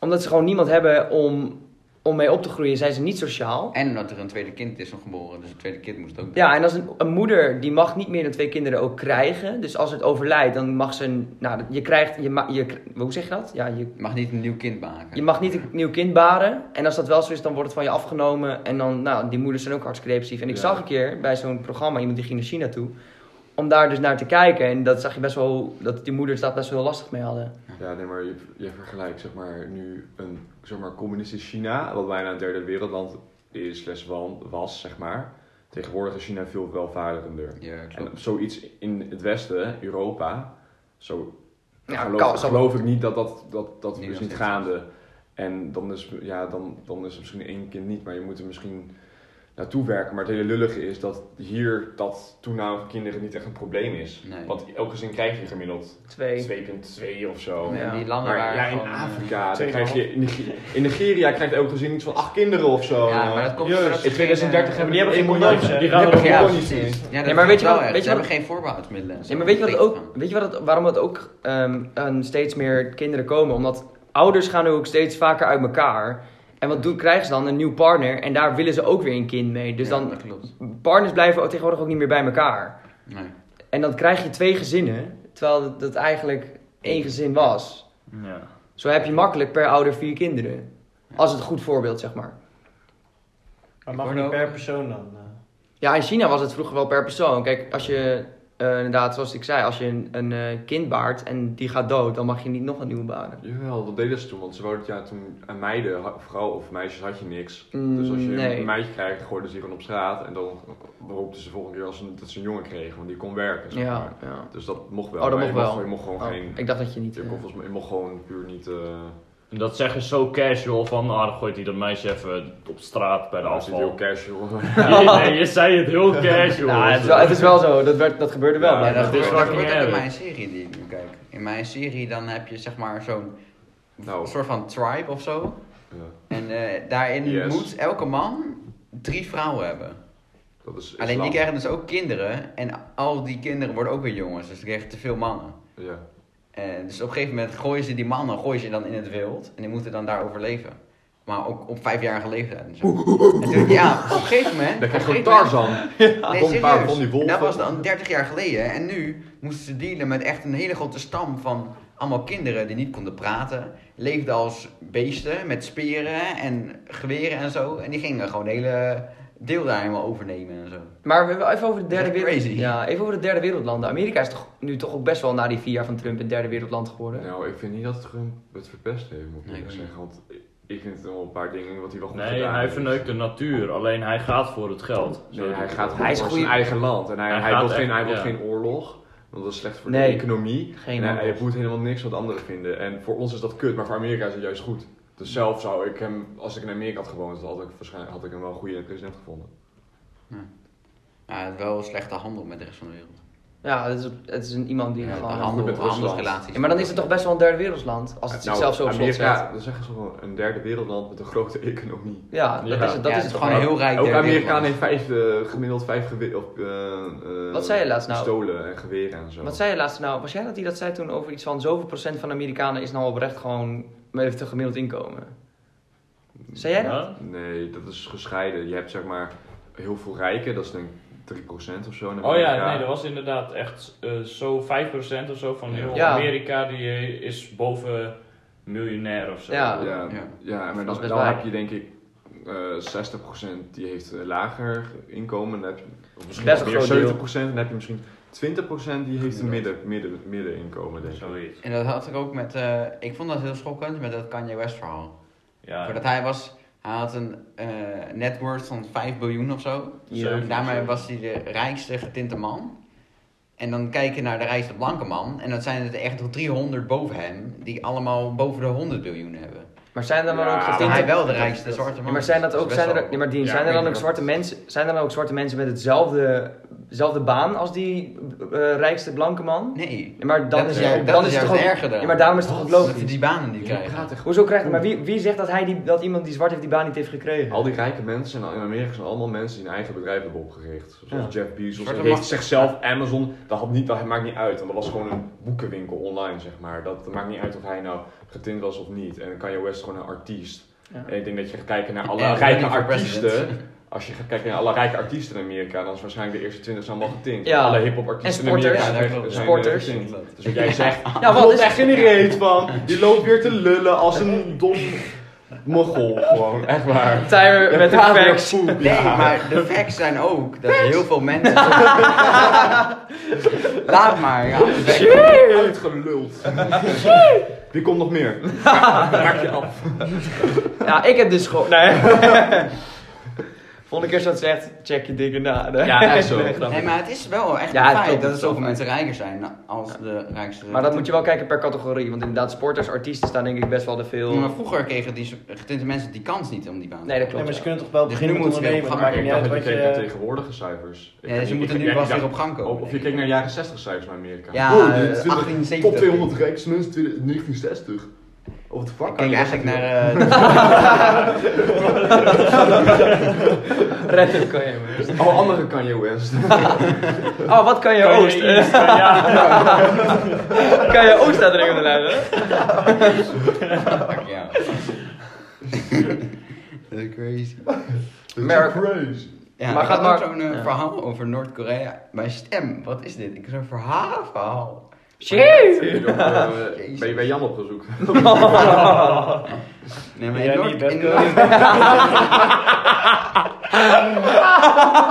Speaker 3: Omdat ze gewoon niemand hebben om, om mee op te groeien, zijn ze niet sociaal.
Speaker 6: En omdat er een tweede kind is nog geboren, dus het tweede kind moest ook.
Speaker 3: Ja, en als een, een moeder die mag niet meer dan twee kinderen ook krijgen. Dus als het overlijdt, dan mag ze een. Nou, je krijgt. Je, ma- je, kr- hoe zeg je dat? Ja, je,
Speaker 6: Je mag niet een nieuw kind maken.
Speaker 3: je mag niet een nieuw kind baren. En als dat wel zo is, dan wordt het van je afgenomen. En dan, nou, die moeders zijn ook hartstikke depressief. En ik
Speaker 1: Ja.
Speaker 3: zag een keer bij zo'n programma iemand die ging naar China toe. Om daar dus naar te kijken. En dat zag je best wel. Dat die moeders dat best wel lastig mee hadden.
Speaker 1: Ja, nee, maar je, je vergelijkt zeg maar, nu een zeg maar, communistisch China, wat bijna een derde wereldland is, slash wan- was, zeg maar. Tegenwoordig is China veel welvarender.
Speaker 6: Ja, klopt.
Speaker 1: En zoiets in het Westen, Europa, zo
Speaker 3: Ja,
Speaker 1: geloof,
Speaker 3: kan- zo-
Speaker 1: geloof ik niet dat dat, dat, dat
Speaker 6: Nee,
Speaker 1: is
Speaker 6: dat
Speaker 1: niet
Speaker 6: is-
Speaker 1: gaande. En dan is, ja, dan, dan is het misschien één kind niet, maar je moet er misschien naartoe werken. Maar het hele lullige is dat hier dat toename van kinderen niet echt een probleem is.
Speaker 6: Nee.
Speaker 1: Want elk gezin krijg je gemiddeld
Speaker 3: Twee.
Speaker 1: 2,2 of zo.
Speaker 6: Ja, die landen
Speaker 1: Maar
Speaker 6: waar
Speaker 1: ja, in
Speaker 6: gewoon, eh,
Speaker 1: Afrika, dan
Speaker 2: Twee
Speaker 1: krijg je, in, Nige- in Nigeria krijgt elk gezin iets van acht kinderen of zo.
Speaker 6: Ja, maar dat komt
Speaker 2: Jezus,
Speaker 6: doordat ze
Speaker 1: in 2030
Speaker 6: geen,
Speaker 1: hebben
Speaker 2: die hebben
Speaker 1: één
Speaker 2: geen
Speaker 1: miljoen.
Speaker 2: condooms, hè?
Speaker 1: Die
Speaker 2: Die
Speaker 1: gaan
Speaker 2: hebben
Speaker 1: er
Speaker 6: eh,
Speaker 1: gewoon niet
Speaker 6: precies.
Speaker 1: in.
Speaker 6: Ja, dat
Speaker 3: Nee, maar weet je
Speaker 6: wel
Speaker 3: wat-
Speaker 6: echt.
Speaker 3: weet je
Speaker 6: Ze hebben
Speaker 3: wat-
Speaker 6: geen voorbehoudmiddelen. en zo.
Speaker 3: Nee, maar weet je, wat
Speaker 6: Dat
Speaker 3: ook,
Speaker 6: tegen.
Speaker 3: weet je wat het, waarom het ook ehm, aan steeds meer kinderen komen? Omdat ouders gaan nu ook steeds vaker uit elkaar. En wat doen, krijgen ze dan? Een nieuw partner. En daar willen ze ook weer een kind mee. Dus
Speaker 6: Ja,
Speaker 3: dan,
Speaker 6: dat klopt.
Speaker 3: partners blijven ook tegenwoordig ook niet meer bij elkaar.
Speaker 6: Nee.
Speaker 3: En dan krijg je twee gezinnen, terwijl dat, dat eigenlijk één gezin was.
Speaker 4: Ja.
Speaker 3: Zo heb je makkelijk per ouder vier kinderen. Als het een goed voorbeeld, zeg maar.
Speaker 2: Maar mag
Speaker 6: Ik
Speaker 2: niet
Speaker 6: hoorde
Speaker 2: per
Speaker 6: ook-
Speaker 2: persoon dan? eh?
Speaker 3: Ja, in China was het vroeger wel per persoon. Kijk, als je, eh, inderdaad, zoals ik zei, als je een, een eh, kind baart en die gaat dood, dan mag je niet nog een nieuwe baren.
Speaker 1: Jawel, dat deden ze toen, want ze wouden het ja, toen aan meiden, ha- vrouw of meisjes had je niks.
Speaker 3: Mm,
Speaker 1: Dus als je
Speaker 3: nee.
Speaker 1: een meisje krijgt, gooiden ze die gewoon op straat en dan roepten ze de volgende keer als ze, dat ze een jongen kregen, want die kon werken. zeg
Speaker 3: Ja,
Speaker 1: maar.
Speaker 3: ja.
Speaker 1: Dus dat mocht wel.
Speaker 3: Oh, dat
Speaker 1: maar
Speaker 3: mocht
Speaker 1: je
Speaker 3: wel.
Speaker 1: Je mocht gewoon
Speaker 3: Oh,
Speaker 1: geen.
Speaker 3: ik dacht dat je niet...
Speaker 1: Je,
Speaker 3: eh,
Speaker 1: kon, volgens mij, je mocht gewoon puur niet. eh
Speaker 4: En dat zeggen ze zo casual van, ah, dan gooit hij dat meisje even op straat bij de
Speaker 1: als je het
Speaker 4: afval.
Speaker 1: heel [LAUGHS] casual.
Speaker 4: Je- [LAUGHS] nee, je zei het
Speaker 1: [LAUGHS]
Speaker 4: heel casual.
Speaker 3: Nou, het, is wel, het is wel zo, dat, werd, dat gebeurde wel.
Speaker 1: Ja,
Speaker 6: Ja,
Speaker 3: blijkbaar.
Speaker 6: dat,
Speaker 4: dat is
Speaker 6: gebeurt- dat
Speaker 4: fucking
Speaker 6: gebeurt ook in
Speaker 4: erg.
Speaker 6: mijn serie die ik nu kijk. In mijn serie dan heb je zeg maar zo'n
Speaker 1: nou,
Speaker 6: soort van tribe of zo.
Speaker 1: ja,
Speaker 6: En eh, daarin
Speaker 1: Yes.
Speaker 6: moet elke man drie vrouwen hebben.
Speaker 1: dat is.
Speaker 6: Alleen die
Speaker 1: islam.
Speaker 6: krijgen dus ook kinderen. En al die kinderen worden ook weer jongens. Dus ze krijgen te veel mannen.
Speaker 1: Ja.
Speaker 6: Eh, dus op een gegeven moment gooien ze die mannen gooien ze dan in het wild. En die moeten dan daar overleven. Maar ook op vijfjarige leeftijd. En zo. En toen- ja, op een gegeven moment.
Speaker 1: Dan krijg je
Speaker 6: op een
Speaker 1: gewoon
Speaker 6: gegeven moment-
Speaker 1: Tarzan.
Speaker 6: Nee,
Speaker 1: Kom een paar
Speaker 6: serieus.
Speaker 1: van die wolven.
Speaker 6: En dat was dan 30 jaar geleden. En nu moesten ze dealen met echt een hele grote stam van allemaal kinderen die niet konden praten. Leefden als beesten met speren en geweren en zo. En die gingen gewoon het hele deel daar helemaal overnemen en zo.
Speaker 3: Maar we hebben even over de derde
Speaker 6: Dat is
Speaker 3: wereld...
Speaker 6: crazy.
Speaker 3: Ja, even over de derde wereldlanden. Amerika is toch nu toch ook best wel na die vier jaar van Trump een derde wereldland geworden.
Speaker 1: Nou, ik vind niet dat Trump het verpest heeft, moet ik
Speaker 6: Nee,
Speaker 1: eerlijk
Speaker 6: ik
Speaker 1: zeggen. Want ik- ik vind wel een paar dingen wat hij wel goed
Speaker 4: Nee,
Speaker 1: gedaan
Speaker 4: hij
Speaker 1: heeft.
Speaker 4: verneukt de natuur, alleen hij gaat voor het geld. Zo
Speaker 1: Nee,
Speaker 4: doet
Speaker 1: hij gaat
Speaker 3: Hij
Speaker 1: gewoon
Speaker 3: is
Speaker 1: voor
Speaker 3: goeie-
Speaker 1: zijn eigen land. En hij,
Speaker 4: Hij
Speaker 1: hij,
Speaker 4: gaat
Speaker 1: wil,
Speaker 4: echt-
Speaker 1: geen, hij wil
Speaker 4: ja.
Speaker 1: geen oorlog. Want dat is slecht voor
Speaker 3: Nee,
Speaker 1: de economie.
Speaker 3: geen
Speaker 1: en hij
Speaker 3: oorlog.
Speaker 1: moet helemaal niks wat anderen vinden. En voor ons is dat kut, maar voor Amerika is het juist goed. Dus zelf zou ik hem, als ik in Amerika had gewoond, had ik, waarschijnlijk, had ik hem wel een goede president gevonden.
Speaker 6: Maar het wel slechte handel met de rest van de wereld.
Speaker 3: Ja, het is, het is een, iemand die
Speaker 6: Ja,
Speaker 3: gewoon...
Speaker 6: handel,
Speaker 1: met Rusland.
Speaker 6: handelsrelaties.
Speaker 3: Ja, maar dan is het toch best wel een derde wereldland, als het
Speaker 1: Nou,
Speaker 3: zichzelf zo op slot
Speaker 1: Amerika,
Speaker 3: zet.
Speaker 1: dan zeggen ze wel een derde wereldland met een grote [LAUGHS] economie.
Speaker 3: Ja, dat
Speaker 4: Ja.
Speaker 3: is het, dat
Speaker 6: Ja,
Speaker 3: is het
Speaker 6: het
Speaker 3: gewoon.
Speaker 6: gewoon een heel rijk
Speaker 1: Ook
Speaker 6: derde
Speaker 1: Amerikaan
Speaker 6: wereldland.
Speaker 1: heeft vijf, eh, gemiddeld vijf geweren. Of, eh, eh,
Speaker 3: Wat zei je laatst nou?
Speaker 1: Pistolen en geweren en zo.
Speaker 3: Wat zei je laatst nou? Was jij dat die dat zei toen over iets van zoveel procent van de Amerikanen is nou oprecht gewoon heeft een gemiddeld inkomen? Zei jij dat?
Speaker 4: Ja?
Speaker 1: Nee, dat is gescheiden. Je hebt zeg maar heel veel rijken, dat is denk ik 3% of zo. in
Speaker 4: Oh ja,
Speaker 1: Amerika.
Speaker 4: nee, dat was inderdaad echt eh, zo 5% of zo van heel
Speaker 3: Ja.
Speaker 4: Amerika, die eh, is boven miljonair of zo.
Speaker 3: Ja.
Speaker 1: Ja,
Speaker 6: Ja.
Speaker 1: ja. maar
Speaker 3: Dat
Speaker 1: dan,
Speaker 3: is best
Speaker 1: dan
Speaker 3: waar.
Speaker 1: heb je denk ik eh 60% die heeft eh, lager inkomen. En dan heb je of misschien
Speaker 3: Best
Speaker 1: wel
Speaker 3: een
Speaker 1: meer
Speaker 3: groot deel.
Speaker 1: 70%. Dan heb je misschien 20% die heeft een midden, midden, middeninkomen, denk ik.
Speaker 4: Zoiets.
Speaker 6: En dat had ik ook met, eh, ik vond dat heel schokkend met dat Kanye West verhaal.
Speaker 4: Ja.
Speaker 6: Voordat hij was, hij had een eh, net worth van 5 biljoen of zo.
Speaker 4: Ja.
Speaker 6: En daarmee was hij de rijkste getinte man. En dan kijk je naar de rijkste blanke man. En dat zijn het echt nog 300 boven hem. Die allemaal boven de 100 biljoen hebben.
Speaker 3: Maar zijn er dan
Speaker 1: Ja,
Speaker 3: ook
Speaker 1: maar
Speaker 6: Terwijl hij
Speaker 3: getinte...
Speaker 6: wel de rijkste zwarte man
Speaker 3: Ja, maar zijn dat
Speaker 6: is.
Speaker 3: ook,
Speaker 6: is best
Speaker 3: zijn er,
Speaker 6: wel-
Speaker 3: nee, maar Dien,
Speaker 1: Ja,
Speaker 3: zijn er
Speaker 1: ik
Speaker 3: dan
Speaker 1: denk dat-
Speaker 3: ook zwarte mensen, zijn er dan ook zwarte mensen met hetzelfde, hetzelfde baan als die eh, rijkste blanke man?
Speaker 6: Nee,
Speaker 3: Ja, maar dan
Speaker 6: dat
Speaker 3: is,
Speaker 6: is,
Speaker 3: het
Speaker 6: juist-
Speaker 3: ook-
Speaker 6: dat
Speaker 3: dan
Speaker 6: is
Speaker 3: het
Speaker 6: juist
Speaker 3: toch ook-
Speaker 6: erger dan.
Speaker 3: Ja, maar daarom is het toch ook
Speaker 6: Dat je
Speaker 3: logisch.
Speaker 6: die banen
Speaker 1: Je
Speaker 6: niet krijgen.
Speaker 1: praat echt-
Speaker 3: Hoezo krijgt hij, maar wie, wie zegt dat, hij die, dat iemand die zwart heeft die baan niet heeft gekregen?
Speaker 1: Al die rijke mensen in Amerika zijn allemaal mensen die een eigen bedrijf hebben opgericht. Zoals
Speaker 3: Ja.
Speaker 1: Jeff Bezos.
Speaker 6: Zwarte
Speaker 1: Hij heeft
Speaker 6: macht.
Speaker 1: zichzelf Amazon. Dat, had niet, dat maakt niet uit. Want dat was gewoon een boekenwinkel online, zeg maar. Dat, dat maakt niet uit of hij nou getint was of niet. En Kanye West is gewoon een artiest.
Speaker 3: Ja.
Speaker 1: En ik denk dat je gaat kijken naar alle
Speaker 6: En
Speaker 1: rijke
Speaker 6: running for
Speaker 1: artiesten.
Speaker 6: president.
Speaker 1: Als je gaat kijken naar alle rijke artiesten in Amerika, dan is waarschijnlijk de eerste 20 zijn allemaal getint.
Speaker 3: Ja.
Speaker 1: Alle hip-hop artiesten
Speaker 3: En
Speaker 1: in Amerika
Speaker 3: sporters.
Speaker 1: zijn-
Speaker 6: Ja, dat
Speaker 1: zijn eh,
Speaker 3: klopt. Sporters.
Speaker 1: getint.
Speaker 6: Klopt.
Speaker 1: Dus wat jij zegt,
Speaker 3: Ja,
Speaker 1: wat
Speaker 3: wat is-
Speaker 1: is echt geen reet van. Die loopt weer te lullen als een dom mochel. Gewoon, echt waar.
Speaker 3: Tyler met de
Speaker 1: Ja,
Speaker 3: facts.
Speaker 1: weer poep,
Speaker 6: Nee,
Speaker 1: ja.
Speaker 6: maar de facts zijn ook dat heel veel
Speaker 3: [LAUGHS]
Speaker 6: mensen. Laat maar, ja.
Speaker 1: Uitgeluld. Wie komt nog meer? Maak je af.
Speaker 3: Ja, ik heb dus gewoon... Nee. Volgende keer als dat zegt, check je dingen na. hè.
Speaker 1: Ja, echt zo.
Speaker 3: Nee,
Speaker 4: [LAUGHS]
Speaker 3: grapje.
Speaker 6: Nee, maar het is wel echt
Speaker 3: Ja,
Speaker 6: een
Speaker 3: het
Speaker 6: feit
Speaker 3: klopt,
Speaker 6: dat
Speaker 3: het
Speaker 6: er zoveel
Speaker 3: klopt.
Speaker 6: mensen rijker zijn als de rijkste.
Speaker 3: Maar dat moet je wel kijken per categorie. Want inderdaad, sporters, artiesten staan denk ik best wel er veel...
Speaker 6: Maar vroeger kregen die getinte mensen die kans niet om die baan te
Speaker 3: Nee, dat
Speaker 2: Nee,
Speaker 3: klopt.
Speaker 2: maar
Speaker 3: ja.
Speaker 2: ze kunnen toch wel
Speaker 6: Dus
Speaker 2: beginnen
Speaker 6: nu
Speaker 2: met
Speaker 6: moet het weer
Speaker 2: ondernemen.
Speaker 6: op
Speaker 2: Het
Speaker 6: gang
Speaker 2: maakt
Speaker 1: Ik
Speaker 2: niet
Speaker 1: dacht dat je keek
Speaker 2: uit wat
Speaker 1: naar
Speaker 2: je...
Speaker 1: tegenwoordige cijfers. Ik
Speaker 6: Ja, dus je
Speaker 1: denk-
Speaker 6: moet er
Speaker 1: ik-
Speaker 6: nu
Speaker 1: ja,
Speaker 6: pas
Speaker 1: ik dacht-
Speaker 6: weer op gang komen.
Speaker 1: Of, of je
Speaker 6: denk
Speaker 1: keek
Speaker 6: ik.
Speaker 1: naar jaren 60 cijfers in Amerika.
Speaker 6: Ja,
Speaker 1: Oh, dit
Speaker 6: eh,
Speaker 1: is 20
Speaker 6: 1870.
Speaker 1: Top 200 rijkste mensen 20 1960. Of het vak.
Speaker 6: Ik kijk eigenlijk naar. eh,
Speaker 3: Redden kan je maar.
Speaker 1: Oh, andere Kanye
Speaker 6: [LAUGHS]
Speaker 1: West.
Speaker 3: Oh, wat kan je
Speaker 4: Kan je
Speaker 3: oost?
Speaker 4: iets- ja.
Speaker 3: Kan je oost staat er in de lijn, hè?
Speaker 1: [LAUGHS]
Speaker 6: eh, fuck, ja. Dat is crazy.
Speaker 3: America.
Speaker 1: Crazy.
Speaker 6: Ja,
Speaker 3: Maar
Speaker 6: maar
Speaker 3: gaat
Speaker 6: gaat ook
Speaker 3: maar-
Speaker 6: zo'n eh,
Speaker 3: ja.
Speaker 6: verhaal over Noord-Korea. Mijn stem, wat is dit? Ik zo'n verhaal, verhaal.
Speaker 3: Shit!
Speaker 1: eh, Ben je bij Jan op
Speaker 6: [LAUGHS]
Speaker 1: bezoek? [LAUGHS]
Speaker 6: Nee,
Speaker 2: Ben jij
Speaker 6: in
Speaker 2: niet
Speaker 6: Noord-
Speaker 2: best
Speaker 6: in
Speaker 2: kunnen?
Speaker 6: [LAUGHS]
Speaker 1: [LAUGHS]
Speaker 6: Noord-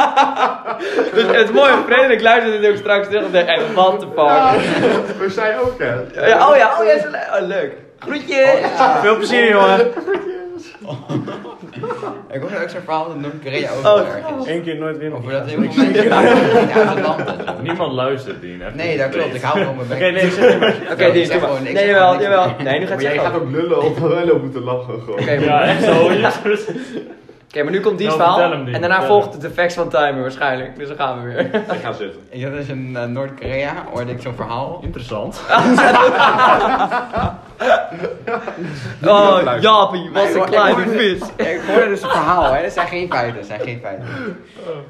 Speaker 3: Dus het mooie, Frederik luistert dit ook straks terug en denkt echt, what the fuck.
Speaker 1: We zijn ook, hè?
Speaker 3: Ja, oh ja, oh ja, is le- oh, leuk. Groetje!
Speaker 2: Veel plezier, jongen.
Speaker 6: Ik hoorde ook zo'n verhaal dat Noord-Korea
Speaker 2: Oh.
Speaker 6: overal erg is.
Speaker 2: Eén keer nooit winnen.
Speaker 6: Over dat heel veel mensen uit het land en zo.
Speaker 4: Niemand luistert die. hè.
Speaker 6: Nee, dat klopt. Ik hou gewoon mijn bek.
Speaker 2: Oké, nee, zeg maar.
Speaker 3: Oké,
Speaker 6: Ja,
Speaker 3: die
Speaker 6: ik
Speaker 3: is
Speaker 6: zeg gewoon- ik
Speaker 3: Nee,
Speaker 6: zeg
Speaker 3: jawel,
Speaker 6: gewoon niks.
Speaker 3: jawel. Nee, nu gaat
Speaker 1: Maar
Speaker 3: ze
Speaker 1: jij gaat
Speaker 3: gewoon.
Speaker 1: ook lullen of [LAUGHS] wij lopen te lachen gewoon.
Speaker 3: Oké, maar-
Speaker 4: Ja, echt zo.
Speaker 3: Oké, maar nu komt die
Speaker 4: Nou,
Speaker 3: verhaal.
Speaker 4: vertel hem die.
Speaker 3: En daarna
Speaker 4: Vertel hem.
Speaker 3: volgt de facts van Timer waarschijnlijk. Dus dan
Speaker 6: [LAUGHS]
Speaker 3: gaan we weer.
Speaker 1: Ik ga zitten.
Speaker 6: Ik zat dus in eh, Noord-Korea, hoorde ik zo'n verhaal.
Speaker 4: [LAUGHS] Interessant.
Speaker 3: Oh, Jaapie,
Speaker 6: Nee,
Speaker 3: wat een
Speaker 6: hoor, ik
Speaker 3: kleine
Speaker 6: hoorde-
Speaker 3: vis.
Speaker 6: Ja, Ik hoorde dus een verhaal, hè. Dat zijn geen feiten, dat zijn geen feiten.
Speaker 4: Oh.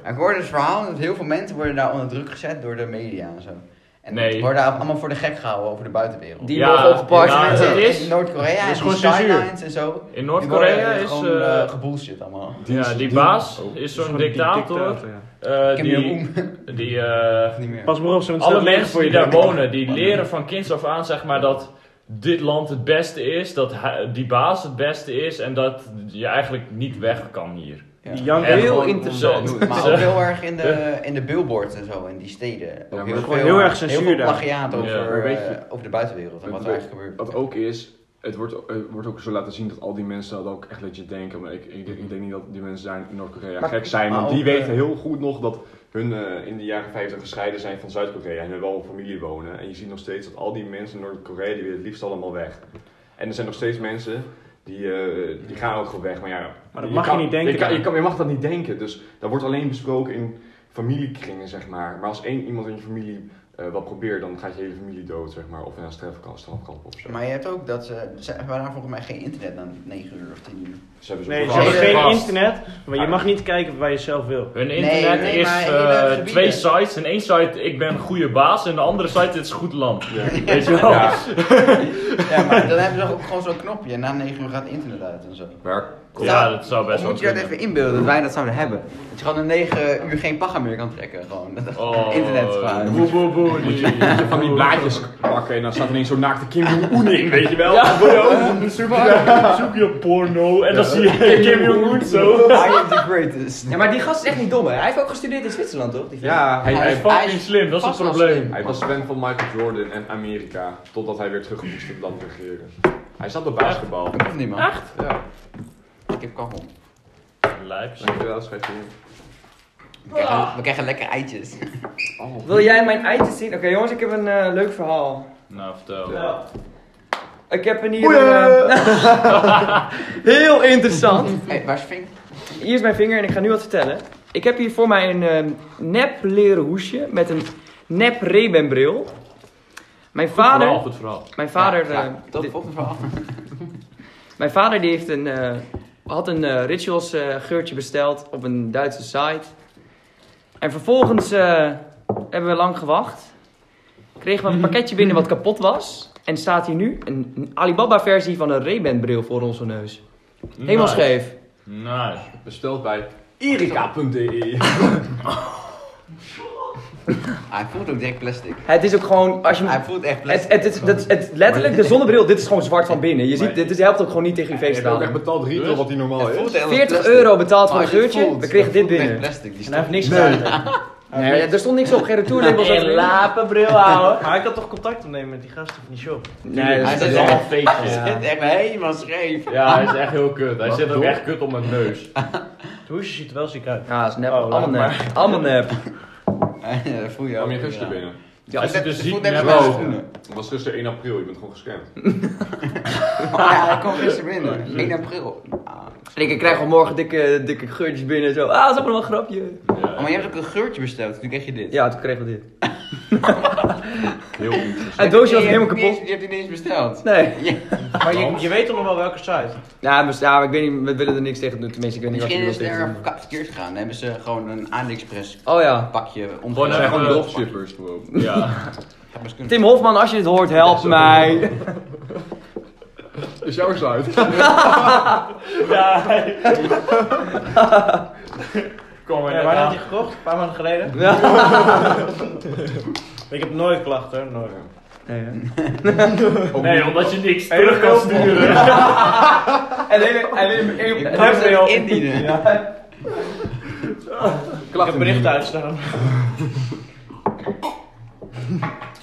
Speaker 6: Maar Ik hoorde dus een verhaal dat heel veel mensen worden daar onder druk gezet door de media en zo. En
Speaker 4: Nee.
Speaker 6: worden allemaal voor de gek gehouden over de buitenwereld.
Speaker 3: Die
Speaker 4: Ja,
Speaker 3: mogen opgepakt.
Speaker 4: ja,
Speaker 3: mensen.
Speaker 4: dat is-
Speaker 6: in Noord-Korea
Speaker 4: dat
Speaker 6: en
Speaker 4: is
Speaker 6: die
Speaker 4: gewoon censuur.
Speaker 6: skylines en zo.
Speaker 4: In
Speaker 6: die worden
Speaker 4: Noord-Korea is...
Speaker 6: Gewoon
Speaker 4: eh,
Speaker 6: eh, oh, gebullshit allemaal.
Speaker 4: ja, die baas is
Speaker 6: dus
Speaker 4: zo'n dictator. eh,
Speaker 6: Kim
Speaker 4: die...
Speaker 6: Jong-un.
Speaker 4: Die...
Speaker 6: [LAUGHS]
Speaker 4: eh,
Speaker 6: Of [LAUGHS] niet meer.
Speaker 2: Pas maar op, zo'n
Speaker 4: Alle
Speaker 2: stel leeg
Speaker 4: mensen die daar wonen, die leren van kinds af aan zeg maar dat dit land het beste is, dat hij- die baas het beste is en dat je eigenlijk niet weg kan hier.
Speaker 2: Die
Speaker 6: Ja.
Speaker 2: janken
Speaker 4: En
Speaker 3: heel
Speaker 4: gewoon-
Speaker 3: interessant.
Speaker 4: ze-
Speaker 6: Maar ook
Speaker 4: ze-
Speaker 6: heel erg in de, in de billboards en zo, in die steden. Ook
Speaker 1: maar
Speaker 6: heel,
Speaker 2: gewoon
Speaker 6: veel,
Speaker 2: heel erg censuur
Speaker 6: Heel veel
Speaker 2: daar.
Speaker 6: plagiaat over,
Speaker 4: Ja,
Speaker 1: maar weet
Speaker 6: eh,
Speaker 1: je-
Speaker 6: over de buitenwereld en wat er
Speaker 1: Weet-
Speaker 6: eigenlijk gebeurt.
Speaker 1: Wat ook is, het wordt, het wordt ook zo laten zien dat al die mensen dat ook echt legit denken. Maar ik, ik, ik denk niet dat die mensen daar in Noord-Korea
Speaker 3: Maar-
Speaker 1: gek zijn. Want
Speaker 6: maar
Speaker 1: die
Speaker 6: ook, eh,
Speaker 1: weten heel goed nog dat hun eh, in de jaren 50 gescheiden zijn van Zuid-Korea. En hun wel een familie wonen. En je ziet nog steeds dat al die mensen in Noord-Korea, die willen het liefst allemaal weg. En er zijn nog steeds mensen... Die, eh, die gaan ook gewoon weg, maar ja...
Speaker 2: Maar dat mag je
Speaker 1: kan-
Speaker 2: niet denken
Speaker 1: Je, kan- je,
Speaker 2: dan.
Speaker 1: kan- je mag dat niet denken, dus dat wordt alleen besproken in familiekringen, zeg maar. Maar als één iemand in je familie eh, wat probeert, dan gaat je hele familie dood, zeg maar. Of naar een strafkamp strafkamp of zo.
Speaker 6: Maar je hebt ook dat ze, ze hebben daar volgens mij geen internet na 9 uur of 10 uur.
Speaker 1: Ze hebben
Speaker 2: Nee, ze
Speaker 1: zo'n
Speaker 2: hebben
Speaker 1: vast-
Speaker 2: geen
Speaker 4: Vast.
Speaker 2: internet, maar je mag niet kijken waar je zelf wil.
Speaker 4: Hun
Speaker 6: Nee,
Speaker 4: internet
Speaker 6: nee,
Speaker 4: is
Speaker 6: maar in
Speaker 4: eh,
Speaker 6: hele gebieden.
Speaker 4: twee sites. In één site ik ben een goede baas en de andere site dit is goed land.
Speaker 1: Ja.
Speaker 4: Weet je wel?
Speaker 1: Ja,
Speaker 6: [LAUGHS] Ja, maar dan hebben ze ook gewoon zo'n knopje. Na 9 uur gaat het internet uit en zo.
Speaker 1: maar
Speaker 4: [LAUGHS] Ja, dat zou best
Speaker 6: Of
Speaker 4: wel
Speaker 6: moet je dat
Speaker 4: kunnen.
Speaker 6: even inbeelden dat wij dat zouden hebben? Dat je gewoon in 9 uur geen paga meer kan trekken. Gewoon dat
Speaker 4: Oh,
Speaker 6: [LAUGHS] internet gebruikt.
Speaker 4: Boe, boe, boe. die-
Speaker 1: Van die blaadjes pakken en dan staat ineens zo'n naakte Kim Jong-un in, weet je wel?
Speaker 4: Ja, zoek je- zoek je porno en dan zie je [LAUGHS] Kim Jong-un zo.
Speaker 6: I am the greatest.
Speaker 3: Ja, maar die gast is echt niet dom, hè? Hij heeft ook gestudeerd in Zwitserland, toch? Die
Speaker 1: Ja, hij,
Speaker 4: Hij is
Speaker 1: hij,
Speaker 4: fucking slim, dat is het probleem.
Speaker 1: hij was fan van Michael Jordan en Amerika, totdat hij weer teruggemoest in het land regeren. Hij zat op basketbal.
Speaker 6: Ik hoef niet man.
Speaker 1: Ja,
Speaker 6: Ik heb kachel.
Speaker 4: Lijps.
Speaker 1: dankjewel schatje.
Speaker 6: We krijgen, we krijgen lekker eitjes.
Speaker 3: Wil jij mijn eitjes zien? Oké, jongens, ik heb een eh, leuk verhaal.
Speaker 4: Nou, vertel.
Speaker 3: Ik heb een hier. een, eh, heel interessant.
Speaker 6: Hé, waar is Vink?
Speaker 3: Hier is mijn vinger en ik ga nu wat vertellen. Ik heb hier voor mij een ehm, nep leren hoesje met een nep Ray-Ban-bril. Mijn
Speaker 4: Verhaal,
Speaker 3: vader,
Speaker 4: goed verhaal.
Speaker 3: mijn vader, eh,
Speaker 6: Tot
Speaker 3: di-
Speaker 6: volgende verhaal.
Speaker 3: mijn vader die heeft een, eh, had een eh, rituals eh, geurtje besteld op een Duitse site. En vervolgens eh, hebben we lang gewacht. Kregen we een pakketje binnen wat kapot was. En staat hier nu een, een Alibaba versie van een Ray-Ban bril voor onze neus. Helemaal
Speaker 4: Nice.
Speaker 3: scheef.
Speaker 4: Nice.
Speaker 1: Besteld bij erika.de.
Speaker 6: Hij voelt ook direct plastic.
Speaker 3: Het is ook gewoon, als je hem
Speaker 6: Hij voelt echt
Speaker 3: Het,
Speaker 6: plastic.
Speaker 3: het, is- dat is- het, letterlijk, de zonnebril, dit is gewoon zwart van binnen. Je ziet, dit, dit helpt ook gewoon niet tegen je
Speaker 1: Heeft ook echt
Speaker 3: feestdagen.
Speaker 1: betaald 3 tot wat hij normaal
Speaker 6: Het voelt
Speaker 1: is?
Speaker 6: echt als
Speaker 3: 40
Speaker 6: plastic.
Speaker 3: euro betaald voor
Speaker 6: Maar als
Speaker 3: een
Speaker 6: je het
Speaker 3: geurtje,
Speaker 6: voelt,
Speaker 3: we kregen
Speaker 6: dan
Speaker 3: dit
Speaker 6: voelt het echt
Speaker 3: binnen.
Speaker 6: plastic, die
Speaker 2: En hij heeft
Speaker 6: stof.
Speaker 2: niks gedaan.
Speaker 3: [LAUGHS] Nee, ja, er stond niks op, geen retourlabels.
Speaker 2: Een
Speaker 3: lapenbril houden.
Speaker 2: Maar ik had toch contact opnemen met die gasten van die shop.
Speaker 3: Nee, dat
Speaker 6: Hij
Speaker 3: is-
Speaker 6: zit
Speaker 4: Het is
Speaker 6: echt-
Speaker 4: allemaal fake shit.
Speaker 6: hij zit echt helemaal
Speaker 4: [LAUGHS]
Speaker 6: scheef.
Speaker 4: Ja, hij is echt heel kut. Hij
Speaker 1: Wat?
Speaker 4: zit ook
Speaker 1: Door?
Speaker 4: echt kut op mijn neus.
Speaker 2: Het hoesje ziet er wel ziek uit.
Speaker 3: Ja, dat is nep.
Speaker 2: Oh,
Speaker 3: Allemaal
Speaker 2: laat
Speaker 3: nep. Allemaal nep.
Speaker 6: Ja, dat voel je ook.
Speaker 1: Kwam je gisteren binnen?
Speaker 3: Ja,
Speaker 4: Hij zit dus
Speaker 6: Het
Speaker 4: ziek
Speaker 6: voelt net als
Speaker 4: naar
Speaker 6: mijn
Speaker 1: wel.
Speaker 6: schoenen.
Speaker 1: Het was gisteren 1 april, je bent gewoon gescamd.
Speaker 6: [LAUGHS] Ja, hij kwam
Speaker 4: [LAUGHS]
Speaker 6: gisteren binnen. 1 april. Ah.
Speaker 3: En ik krijg al morgen dikke, dikke geurtjes binnen en zo. Ah, dat is allemaal een grapje.
Speaker 6: Oh, maar je hebt ook een geurtje besteld, toen kreeg je dit.
Speaker 3: Ja, toen kregen we dit.
Speaker 1: Heel goed.
Speaker 3: Het doosje was
Speaker 6: Je hebt
Speaker 3: helemaal
Speaker 6: het niet
Speaker 3: kapot.
Speaker 6: eens- Je hebt het niet eens besteld. [LAUGHS]
Speaker 3: Nee.
Speaker 2: Maar je, je weet toch nog wel welke site?
Speaker 3: Ja, maar ja, ik weet niet, we willen er niks tegen doen. Tenminste, ik weet niet wat
Speaker 6: Misschien
Speaker 3: je
Speaker 6: is
Speaker 3: wilt
Speaker 6: het er
Speaker 3: tegen doen.
Speaker 6: verka- verkeerd gegaan. Dan hebben ze gewoon een AliExpress
Speaker 3: Oh ja.
Speaker 6: pakje omgedraaid.
Speaker 4: Gewoon
Speaker 1: Het zijn gewoon
Speaker 4: Eh,
Speaker 1: dropshippers gewoon.
Speaker 4: Ja.
Speaker 6: Had best kunnen.
Speaker 3: Tim Hofman, als je dit hoort, help mij.
Speaker 7: Is jouw sluit?
Speaker 4: ja. Kom maar
Speaker 2: Ja,
Speaker 4: net
Speaker 2: waar had
Speaker 4: aan.
Speaker 2: je gekocht? Een paar maanden geleden? [LAUGHS] Ik heb nooit klachten, nooit.
Speaker 3: Nee, hè?
Speaker 4: Nee, omdat je niks terug kan sturen.
Speaker 3: En alleen, alleen, alleen,
Speaker 6: Kan ze
Speaker 2: Gabriel.
Speaker 6: het indienen?
Speaker 2: Ik heb berichten uitstaan.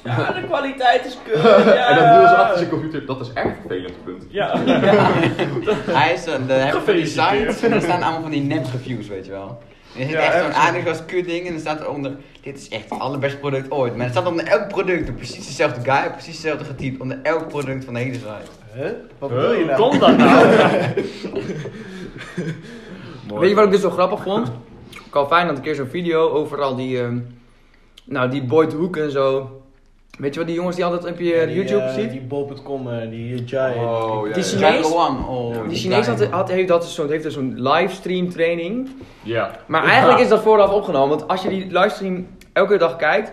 Speaker 2: Ja, de kwaliteit is kut. Ja.
Speaker 1: En dat doen ze achter zijn computer, dat is echt vervelend punt.
Speaker 2: Ja.
Speaker 6: Hij is een, de hebben van die
Speaker 4: Gefeliciteerd.
Speaker 6: site en er staan allemaal van die nep reviews, weet je wel. En er zit
Speaker 2: Ja,
Speaker 6: echt zo'n
Speaker 2: echt zo.
Speaker 6: AliExpress kut ding en er staat eronder, dit is echt het allerbeste product ooit. Maar er staat onder elk product een precies dezelfde guy, precies dezelfde getypt, onder elk product van de hele site.
Speaker 2: Wat bedoel je
Speaker 4: Hoe
Speaker 2: nou?
Speaker 4: komt dat nou?
Speaker 3: Weet je wat ik dus zo grappig vond? Ik had fijn dat een keer zo'n video over al die, ehm, nou die Boyd Hoek en zo. Weet je wat die jongens die altijd op je
Speaker 2: [LAUGHS] Die,
Speaker 3: YouTube
Speaker 2: eh,
Speaker 3: ziet?
Speaker 2: Die bol.com, eh, die Giant.
Speaker 1: Oh, ja,
Speaker 3: Die
Speaker 1: ja.
Speaker 3: Chinees?
Speaker 6: Jack Wang, oh,
Speaker 3: Die
Speaker 6: guy.
Speaker 3: Chinees had, had, heeft, dat dus zo'n- heeft dus zo'n livestream training.
Speaker 4: Ja.
Speaker 3: Maar eigenlijk is dat vooraf opgenomen, want als je die livestream elke dag kijkt,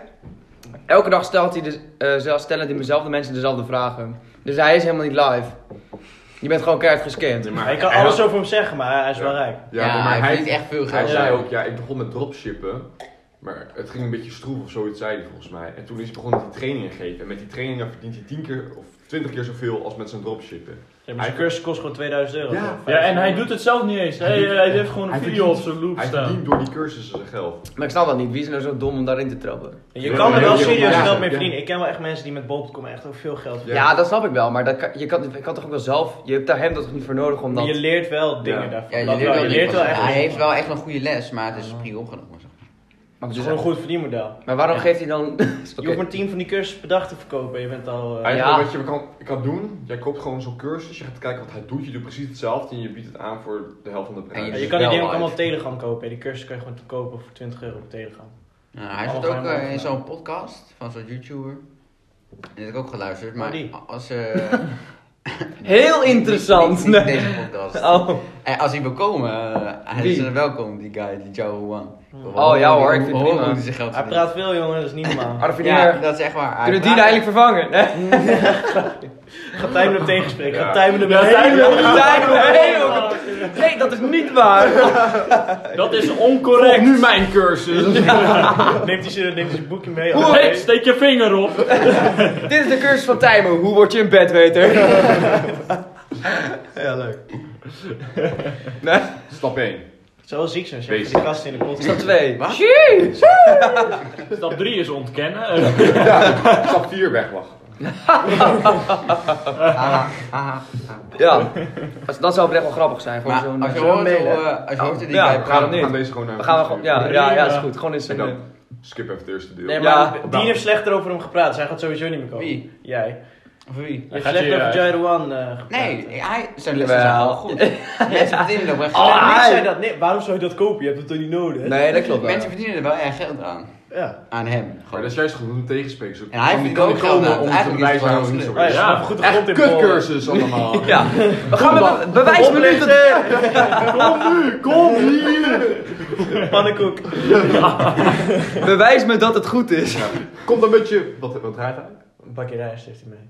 Speaker 3: elke dag stelt hij de, eh, zelf- stellen die dezelfde mensen dezelfde vragen. Dus hij is helemaal niet live. Je bent gewoon keihard gescand.
Speaker 1: Ja, maar
Speaker 2: Hij kan
Speaker 1: hij-
Speaker 2: alles over hem zeggen, maar hij is wel
Speaker 1: Ja.
Speaker 2: rijk.
Speaker 6: Ja,
Speaker 1: Ja, maar hij,
Speaker 6: verdient echt veel
Speaker 1: hij
Speaker 6: geld.
Speaker 1: zei ook, ja, ik begon met dropshippen. Maar het ging een beetje stroef of zoiets, zei hij volgens mij. En toen is hij begonnen die trainingen te geven. En met die trainingen verdient hij 10 keer of 20 keer zoveel als met zijn dropshippen.
Speaker 2: Ja, maar zijn cursus kost gewoon 2000 euro.
Speaker 1: Ja.
Speaker 4: Ja, en hij doet het zelf niet eens. Hij, eh, hij heeft gewoon een
Speaker 1: Hij
Speaker 4: video op zijn loop
Speaker 1: Hij
Speaker 4: staan.
Speaker 1: verdient door die cursussen zijn geld.
Speaker 3: Maar ik snap dat niet, wie is nou zo dom om daarin te trappen?
Speaker 2: Je kan er wel serieus
Speaker 1: Ja.
Speaker 2: geld mee
Speaker 1: Ja.
Speaker 2: verdienen. Ik ken wel echt mensen die met bol.com echt ook veel geld verdienen.
Speaker 3: Ja, dat snap ik wel, maar dat kan, je, kan, je kan toch ook wel zelf, je hebt daar hem dat toch niet voor nodig om
Speaker 2: Maar
Speaker 3: dat...
Speaker 2: Je leert wel dingen
Speaker 1: Ja.
Speaker 2: daarvan.
Speaker 6: Ja, je
Speaker 2: Dat
Speaker 6: leert
Speaker 2: wel.
Speaker 6: wel
Speaker 2: je leert wel
Speaker 6: dingen.
Speaker 2: echt
Speaker 6: Hij
Speaker 2: dingen.
Speaker 6: heeft wel echt een goede les, maar het is prima opgenomen. zeg maar.
Speaker 3: Maar
Speaker 2: Het
Speaker 3: goed,
Speaker 2: is
Speaker 3: dus-
Speaker 2: gewoon een goed verdienmodel.
Speaker 3: Maar waarom geeft hij dan... [LAUGHS]
Speaker 2: Je hoeft maar 10 van die cursussen per dag te verkopen en je bent al... eh,
Speaker 1: Eigenlijk,
Speaker 3: Ja.
Speaker 1: wat je wat kan, kan doen, jij koopt gewoon zo'n cursus. Je gaat kijken wat hij doet. Je doet precies hetzelfde en je biedt het aan voor de helft van de
Speaker 6: En
Speaker 1: prijs.
Speaker 2: ja,
Speaker 6: je
Speaker 2: je kan die
Speaker 6: wel
Speaker 2: dingen ook
Speaker 6: live.
Speaker 2: allemaal op Telegram kopen. en Die cursus kan je gewoon te kopen voor 20 euro op Telegram.
Speaker 6: Nou, hij zit
Speaker 2: Allemaal
Speaker 6: ook
Speaker 2: fijn
Speaker 6: eh, in
Speaker 2: man.
Speaker 6: zo'n podcast van zo'n YouTuber. Die heb ik ook geluisterd, maar
Speaker 2: Oh, die.
Speaker 6: als...
Speaker 3: [LAUGHS]
Speaker 6: eh,
Speaker 3: Heel
Speaker 6: Niet,
Speaker 2: [LAUGHS]
Speaker 3: interessant!
Speaker 6: niet
Speaker 3: Nee.
Speaker 6: deze podcast.
Speaker 3: [LAUGHS] Oh,
Speaker 6: En als hij wil komen, eh, hij
Speaker 3: Wie?
Speaker 6: is eh, welkom, die guy, die Joe Juan.
Speaker 3: Oh, ja hoor, ik vind het prima.
Speaker 6: hoe hij zijn geld
Speaker 2: Hij
Speaker 6: verdient.
Speaker 2: praat veel jongen, dat is niet normaal.
Speaker 3: Arvid
Speaker 6: Ja, dat is echt waar. Hij
Speaker 3: Kunnen we die nou
Speaker 6: praat-
Speaker 3: eigenlijk vervangen? Nee.
Speaker 2: Gaat Tijmen hem tegenspreken?
Speaker 1: Ja.
Speaker 2: Gaat Tijmen hem
Speaker 4: Ja,
Speaker 2: helemaal... [LAUGHS]
Speaker 4: Tijmen hem
Speaker 3: Tijmen hem helemaal-
Speaker 4: helemaal-
Speaker 3: [LAUGHS] Nee, dat is niet waar. [LAUGHS]
Speaker 4: Dat is oncorrect. nu mijn cursus. [LAUGHS]
Speaker 2: Neemt hij zijn- neemt hij zijn boekje mee? Oh,
Speaker 4: Hey, steek je vinger op.
Speaker 3: Dit is de cursus van Tijmen. Hoe word je een [LAUGHS] bedweter?
Speaker 2: Ja, leuk.
Speaker 7: Stap
Speaker 1: [LAUGHS]
Speaker 7: 1.
Speaker 2: Het zou wel ziek zijn als je die gast in de podcast...
Speaker 3: Stap 2.
Speaker 4: Stap 3 is ontkennen. Eh,
Speaker 7: Stap 4 wegwachten.
Speaker 3: Ja. Dat- Dat zou oprecht wel grappig zijn. Gewoon
Speaker 6: Maar als
Speaker 3: zo'n...
Speaker 6: je
Speaker 3: eh,
Speaker 6: hoort hoe, eh, als je hoort hoe die
Speaker 3: Ja,
Speaker 6: guy
Speaker 3: we
Speaker 6: praat,
Speaker 3: gaan
Speaker 7: We gaan
Speaker 3: niet.
Speaker 7: deze gewoon naar
Speaker 3: We gaan we gewoon... Ja, ja, ja, is goed. Gewoon eens
Speaker 7: En
Speaker 3: een... eh,
Speaker 7: dan skip even het eerste deel.
Speaker 3: Nee,
Speaker 2: Ja,
Speaker 3: maar...
Speaker 2: Dien heeft slechter over hem gepraat. Zij gaat sowieso niet meer komen.
Speaker 6: Wie?
Speaker 2: Jij.
Speaker 6: Of wie?
Speaker 2: Je hebt
Speaker 4: gaat
Speaker 2: slecht
Speaker 4: je,
Speaker 2: over
Speaker 4: eh,
Speaker 2: Jairo One eh, gepraat.
Speaker 6: Nee, hij, zijn
Speaker 3: Jawel.
Speaker 6: lessen zijn wel goed. Mensen verdienen er oprecht
Speaker 2: Nee, niks
Speaker 6: geld aan.
Speaker 3: Oh, hij-
Speaker 2: Oh, zei dat. Nee, waarom zou je dat kopen? Je hebt het toch niet nodig?
Speaker 3: Nee, dat klopt wel. Dus
Speaker 6: Mensen verdienen er wel erg geld aan.
Speaker 2: Ja.
Speaker 6: Aan hem.
Speaker 7: Maar dat
Speaker 6: Gewoon.
Speaker 7: is juist goed om tegenspreken. Ze
Speaker 6: En hij
Speaker 7: kan-
Speaker 6: heeft
Speaker 7: kan
Speaker 2: oh,
Speaker 6: ook
Speaker 7: niet
Speaker 6: geld
Speaker 2: nou,
Speaker 7: komen
Speaker 6: nodig.
Speaker 7: om te blij
Speaker 6: Eigenlijk is het
Speaker 7: zijn
Speaker 6: wel
Speaker 7: of niet
Speaker 6: een
Speaker 7: zo.
Speaker 2: Ja, ja.
Speaker 4: Ja.
Speaker 2: Goed de grond
Speaker 7: Echt
Speaker 2: in bollen.
Speaker 7: kutcursus [LAUGHS] allemaal.
Speaker 3: Ja. We gaan met bewijsminuten...
Speaker 2: Oplichter! Kom nu, kom hier! Pannenkoek.
Speaker 3: Bewijs me dat het goed is.
Speaker 7: Kom dan met je... Wat, wat draait hij?
Speaker 2: Een bakje rijst heeft hij mee.